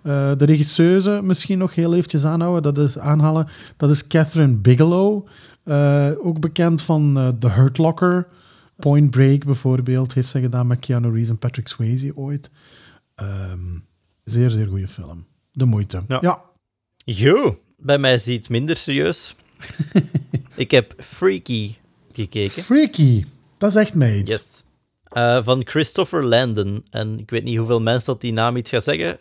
[SPEAKER 1] Eh, de regisseuse, misschien nog heel eventjes aanhouden, dat is, aanhalen, dat is Catherine Bigelow. Eh, ook bekend van eh, The Hurt Locker. Point Break bijvoorbeeld, heeft zij gedaan met Keanu Reeves en Patrick Swayze ooit. Ehm, zeer, zeer goede film. De moeite.
[SPEAKER 2] Ja.
[SPEAKER 1] ja.
[SPEAKER 2] Yo, bij mij is die iets minder serieus. ik heb Freaky gekeken.
[SPEAKER 1] Freaky. Dat zegt mij iets.
[SPEAKER 2] Yes. Eh, van Christopher Landon. En ik weet niet hoeveel mensen dat die naam iets gaat zeggen.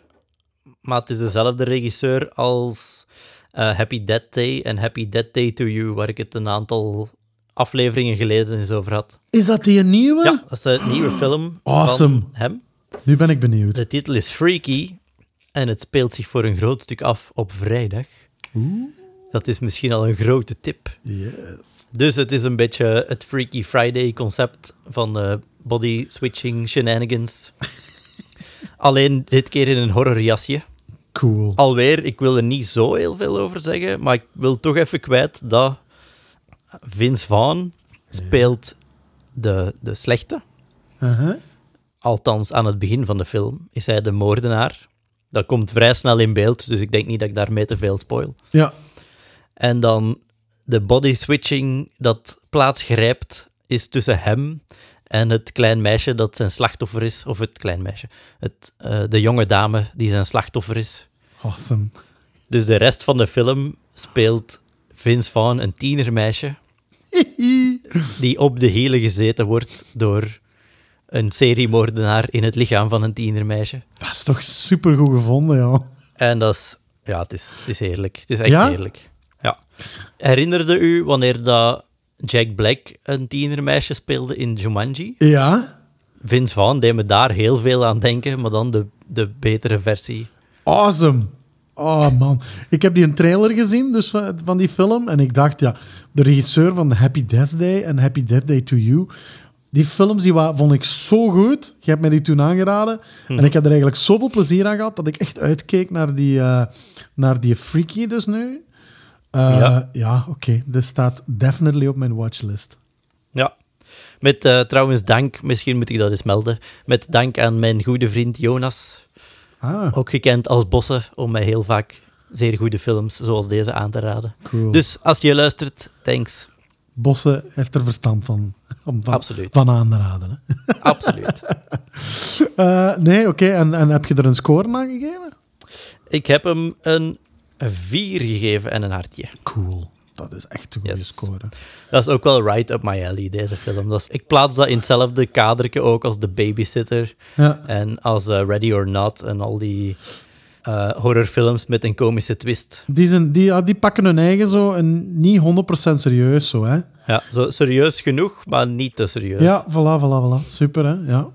[SPEAKER 2] Maar het is dezelfde regisseur als eh, Happy Death Day en Happy Death Day to You, waar ik het een aantal afleveringen geleden eens over had.
[SPEAKER 1] Is dat die een nieuwe?
[SPEAKER 2] Ja, dat is een nieuwe film
[SPEAKER 1] Awesome.
[SPEAKER 2] van hem.
[SPEAKER 1] Nu ben ik benieuwd.
[SPEAKER 2] De titel is Freaky en het speelt zich voor een groot stuk af op vrijdag. Dat is misschien al een grote tip.
[SPEAKER 1] Yes.
[SPEAKER 2] Dus het is een beetje het Freaky Friday concept van eh, body switching shenanigans. Alleen dit keer in een horrorjasje.
[SPEAKER 1] Cool.
[SPEAKER 2] Alweer, ik wil er niet zo heel veel over zeggen, maar ik wil toch even kwijt dat Vince Vaughn speelt de, de slechte.
[SPEAKER 1] Uh-huh.
[SPEAKER 2] Althans, aan het begin van de film is hij de moordenaar. Dat komt vrij snel in beeld, dus ik denk niet dat ik daarmee te veel spoil.
[SPEAKER 1] Ja.
[SPEAKER 2] En dan de body switching dat plaatsgrijpt is tussen hem en het klein meisje dat zijn slachtoffer is. Of het klein meisje. Het, eh, de jonge dame die zijn slachtoffer is.
[SPEAKER 1] Awesome.
[SPEAKER 2] Dus de rest van de film speelt Vince Vaughn een tienermeisje die op de hielen gezeten wordt door een seriemoordenaar in het lichaam van een tienermeisje.
[SPEAKER 1] Dat is toch supergoed gevonden, joh.
[SPEAKER 2] En dat is, ja, het is, het is heerlijk. Het is echt
[SPEAKER 1] Ja?
[SPEAKER 2] heerlijk. Ja. Herinnerde u wanneer dat Jack Black een tienermeisje speelde in Jumanji?
[SPEAKER 1] Ja.
[SPEAKER 2] Vince Vaughn deed me daar heel veel aan denken, maar dan de, de betere versie.
[SPEAKER 1] Awesome. Oh man, ik heb die een trailer gezien dus van, van die film en ik dacht, ja, de regisseur van Happy Death Day en Happy Death Day to You, die films die wa- vond ik zo goed. Je hebt mij die toen aangeraden
[SPEAKER 2] Mhm.
[SPEAKER 1] en ik heb er eigenlijk zoveel plezier aan gehad dat ik echt uitkeek naar die, eh, naar die Freaky dus nu. Eh, ja,
[SPEAKER 2] Ja.
[SPEAKER 1] oké, dit staat definitely op mijn watchlist.
[SPEAKER 2] Ja. Met eh, trouwens dank, misschien moet ik dat eens melden, met dank aan mijn goede vriend Jonas,
[SPEAKER 1] Ah,
[SPEAKER 2] ook gekend als Bosse, om mij heel vaak zeer goede films zoals deze aan te raden.
[SPEAKER 1] cool.
[SPEAKER 2] Dus als je luistert, thanks.
[SPEAKER 1] Bosse heeft er verstand van. Om van,
[SPEAKER 2] Absoluut.
[SPEAKER 1] van aan te raden. Hè?
[SPEAKER 2] Absoluut.
[SPEAKER 1] Eh, nee, oké. En, en heb je er een score aan gegeven?
[SPEAKER 2] Ik heb hem een 4 gegeven en een hartje.
[SPEAKER 1] Cool. Dat is echt een goede
[SPEAKER 2] Yes.
[SPEAKER 1] score.
[SPEAKER 2] Dat is ook wel right up my alley, deze film. Dat is- ik plaats dat in hetzelfde kadertje ook als The Babysitter
[SPEAKER 1] Ja.
[SPEAKER 2] en als eh, Ready or Not en al die eh, horrorfilms met een komische twist.
[SPEAKER 1] Die, zijn, die, ja, die pakken hun eigen zo en niet 100% serieus zo, hè?
[SPEAKER 2] Ja, zo serieus genoeg, maar niet te serieus.
[SPEAKER 1] Ja, voilà, voilà, voilà. Super, hè? Ja.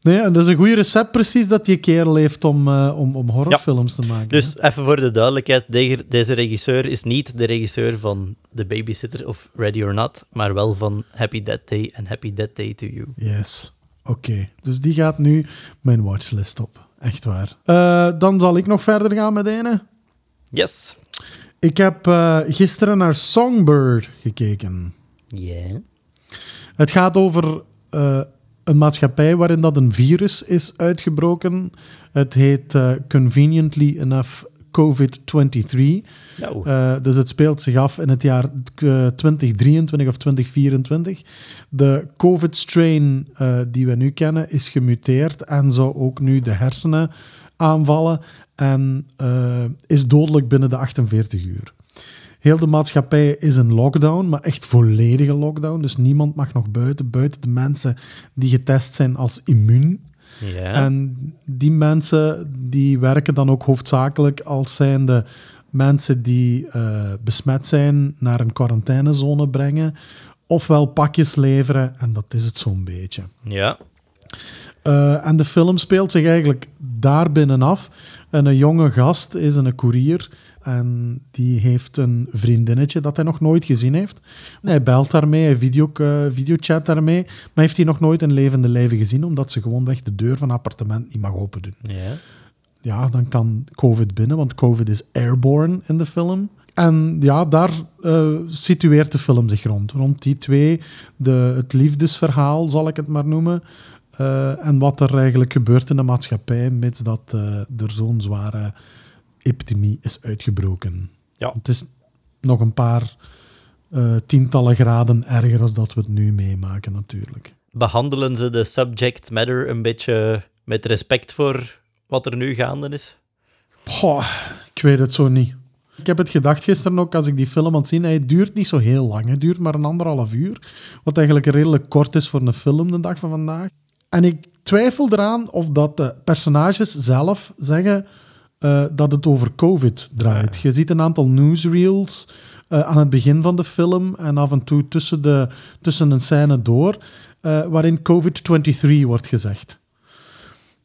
[SPEAKER 1] Nee, en dat is een goed recept precies dat die kerel heeft om, eh, om, om horrorfilms te maken.
[SPEAKER 2] Dus even voor de duidelijkheid, de- deze regisseur is niet de regisseur van The Babysitter of Ready or Not, maar wel van Happy Dead Day en Happy Dead Day to You.
[SPEAKER 1] hè. Yes. Oké, dus die gaat nu mijn watchlist op. Echt waar. Eh, dan zal ik nog verder gaan met ene.
[SPEAKER 2] Yes.
[SPEAKER 1] Ik heb eh, gisteren naar Songbird gekeken.
[SPEAKER 2] Yeah.
[SPEAKER 1] Het gaat over eh, een maatschappij waarin dat een virus is uitgebroken. Het heet eh, Conveniently Enough COVID-23.
[SPEAKER 2] Nou,
[SPEAKER 1] Eh, dus het speelt zich af in het jaar eh, 2023 of 2024. De COVID-strain eh, die we nu kennen is gemuteerd en zou ook nu de hersenen aanvallen en eh, is dodelijk binnen de 48 uur. Heel de maatschappij is in lockdown, maar echt volledige lockdown. Dus niemand mag nog buiten, buiten de mensen die getest zijn als immuun.
[SPEAKER 2] ja.
[SPEAKER 1] En die mensen die werken dan ook hoofdzakelijk als zijnde mensen die eh, besmet zijn naar een quarantainezone brengen. Ofwel pakjes leveren en dat is het zo'n beetje.
[SPEAKER 2] ja.
[SPEAKER 1] Eh, en de film speelt zich eigenlijk daar binnenaf. En een jonge gast is een koerier. En die heeft een vriendinnetje dat hij nog nooit gezien heeft. En hij belt daarmee, hij video, eh, videochat daarmee. Maar heeft hij nog nooit in levende lijven gezien, omdat ze gewoonweg de deur van het appartement niet mag open doen
[SPEAKER 2] Ja.
[SPEAKER 1] ja, dan kan COVID binnen, want COVID is airborne in de film. En ja, daar eh, situeert de film zich rond. Rond die twee, de, het liefdesverhaal zal ik het maar noemen. eh, en wat er eigenlijk gebeurt in de maatschappij, mits dat eh, er zo'n zware epidemie is uitgebroken.
[SPEAKER 2] Ja.
[SPEAKER 1] Het is nog een paar eh, tientallen graden erger als dat we het nu meemaken natuurlijk.
[SPEAKER 2] Behandelen ze de subject matter een beetje met respect voor wat er nu gaande is?
[SPEAKER 1] Goh, ik weet het zo niet. Ik heb het gedacht gisteren ook als ik die film aan het zien. Hij duurt niet zo heel lang. Het duurt maar een anderhalf uur. Wat eigenlijk redelijk kort is voor een film de dag van vandaag. En ik twijfel eraan of dat de personages zelf zeggen eh, dat het over COVID draait. Je ziet een aantal newsreels eh, aan het begin van de film en af en toe tussen, de, tussen een scène door, eh, waarin COVID-23 wordt gezegd.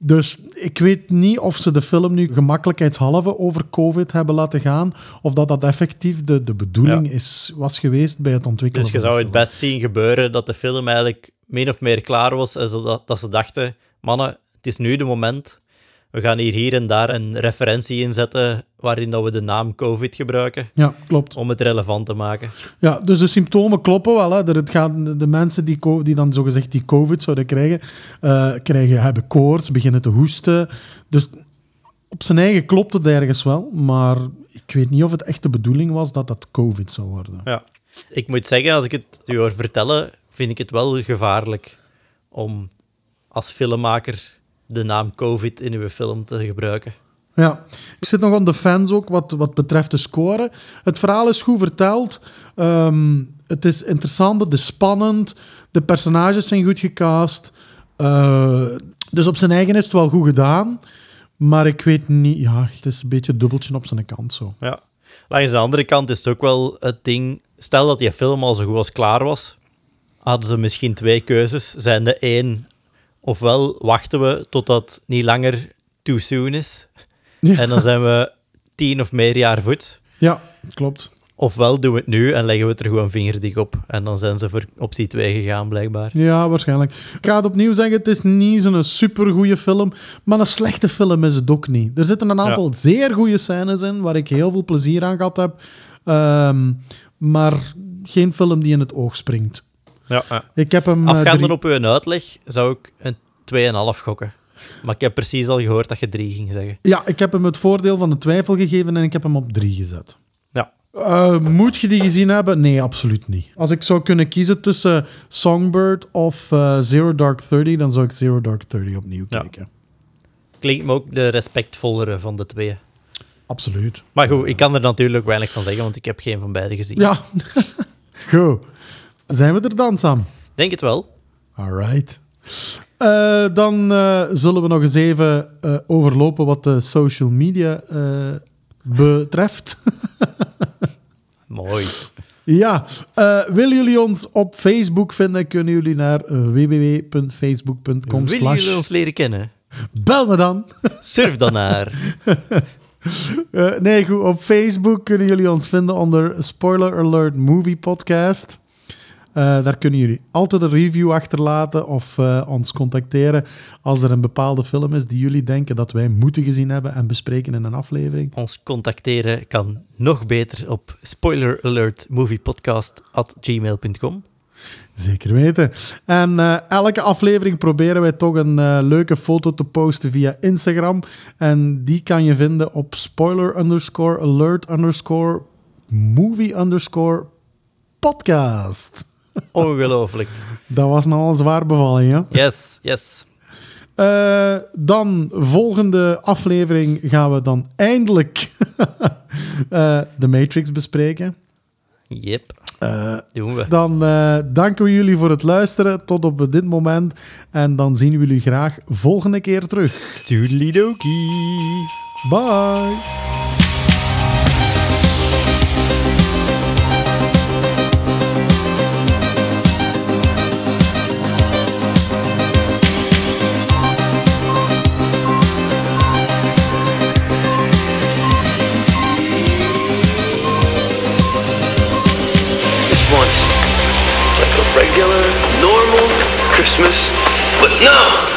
[SPEAKER 1] Dus ik weet niet of ze de film nu gemakkelijkheidshalve over COVID hebben laten gaan. Of dat dat effectief de, de bedoeling
[SPEAKER 2] Ja.
[SPEAKER 1] is, was geweest bij het ontwikkelen
[SPEAKER 2] Dus je
[SPEAKER 1] van de
[SPEAKER 2] zou het
[SPEAKER 1] film.
[SPEAKER 2] best zien gebeuren dat de film eigenlijk min of meer klaar was en zodat, dat ze dachten, mannen, het is nu de moment. We gaan hier, hier en daar een referentie inzetten waarin dat we de naam COVID gebruiken
[SPEAKER 1] Ja, klopt.
[SPEAKER 2] om het relevant te maken.
[SPEAKER 1] Ja, dus de symptomen kloppen wel. Hè. Er- Het gaat, de mensen die, co- die dan zogezegd die COVID zouden krijgen, eh, krijgen, hebben koorts, beginnen te hoesten. Dus op zijn eigen klopt het ergens wel, maar ik weet niet of het echt de bedoeling was dat dat COVID zou worden.
[SPEAKER 2] Ja. Ik moet zeggen, als ik het u hoor vertellen, vind ik het wel gevaarlijk om als filmmaker de naam COVID in uw film te gebruiken.
[SPEAKER 1] Ja, ik zit nog aan de fans ook wat, wat betreft de score. Het verhaal is goed verteld. Ehm, het is interessant, het is spannend. De personages zijn goed gecast. Eh, dus op zijn eigen is het wel goed gedaan. Maar ik weet niet, ja, het is een beetje dubbeltje op zijn kant zo.
[SPEAKER 2] Ja. Langs de andere kant is het ook wel het ding. Stel dat die film al zo goed als klaar was, hadden ze misschien twee keuzes. Zijn de één, ofwel wachten we totdat het niet langer too soon is.
[SPEAKER 1] Ja.
[SPEAKER 2] En dan zijn we tien of meer jaar voet.
[SPEAKER 1] Ja, klopt.
[SPEAKER 2] Ofwel doen we het nu en leggen we het er gewoon vingerdik op. En dan zijn ze voor optie 2 gegaan, blijkbaar.
[SPEAKER 1] Ja, waarschijnlijk. Ik ga het opnieuw zeggen, het is niet zo'n supergoeie film, maar een slechte film is het ook niet. Er zitten een aantal zeer goede scènes in, waar ik heel veel plezier aan gehad heb. Ehm, maar geen film die in het oog springt.
[SPEAKER 2] Ja,
[SPEAKER 1] Ik heb hem... eh,
[SPEAKER 2] Afgaande
[SPEAKER 1] drie-
[SPEAKER 2] op uw uitleg zou ik een 2,5 gokken. Maar ik heb precies al gehoord dat je 3 ging zeggen.
[SPEAKER 1] Ja, ik heb hem het voordeel van de twijfel gegeven en ik heb hem op drie gezet.
[SPEAKER 2] Ja.
[SPEAKER 1] Eh, moet je die gezien hebben? Nee, absoluut niet. Als ik zou kunnen kiezen tussen Songbird of eh, Zero Dark Thirty, dan zou ik Zero Dark Thirty opnieuw
[SPEAKER 2] Ja.
[SPEAKER 1] kijken.
[SPEAKER 2] Klinkt me ook de respectvollere van de twee.
[SPEAKER 1] Absoluut.
[SPEAKER 2] Maar goed, ik kan er natuurlijk weinig van zeggen, want ik heb geen van beide gezien.
[SPEAKER 1] Ja. Goed. Zijn we er dan, Sam?
[SPEAKER 2] Denk het wel.
[SPEAKER 1] All right. Eh, dan eh, zullen we nog eens even eh, overlopen wat de social media eh, betreft.
[SPEAKER 2] Mooi.
[SPEAKER 1] Ja, eh, willen jullie ons op Facebook vinden, kunnen jullie naar www.facebook.com
[SPEAKER 2] Willen jullie
[SPEAKER 1] slash...
[SPEAKER 2] ons leren kennen?
[SPEAKER 1] Bel me dan!
[SPEAKER 2] Surf dan naar.
[SPEAKER 1] Eh, nee, goed, op Facebook kunnen jullie ons vinden onder Spoiler Alert Movie Podcast. Eh, daar kunnen jullie altijd een review achterlaten of eh, ons contacteren als er een bepaalde film is die jullie denken dat wij moeten gezien hebben en bespreken in een aflevering.
[SPEAKER 2] Ons contacteren kan nog beter op spoileralertmoviepodcast.gmail.com.
[SPEAKER 1] Zeker weten. En eh, elke aflevering proberen wij toch een eh, leuke foto te posten via Instagram. En die kan je vinden op spoiler underscore alert underscore movie underscore podcast.
[SPEAKER 2] Ongelooflijk.
[SPEAKER 1] Dat was nogal een zwaar bevalling, hè?
[SPEAKER 2] Yes, yes.
[SPEAKER 1] Eh, dan, volgende aflevering gaan we dan eindelijk eh, de Matrix bespreken.
[SPEAKER 2] Yep. Doen we.
[SPEAKER 1] Dan eh, danken we jullie voor het luisteren tot op dit moment. En dan zien we jullie graag volgende keer terug.
[SPEAKER 2] Toedelidokie.
[SPEAKER 1] Bye!
[SPEAKER 3] just once, like a regular, normal Christmas. But no!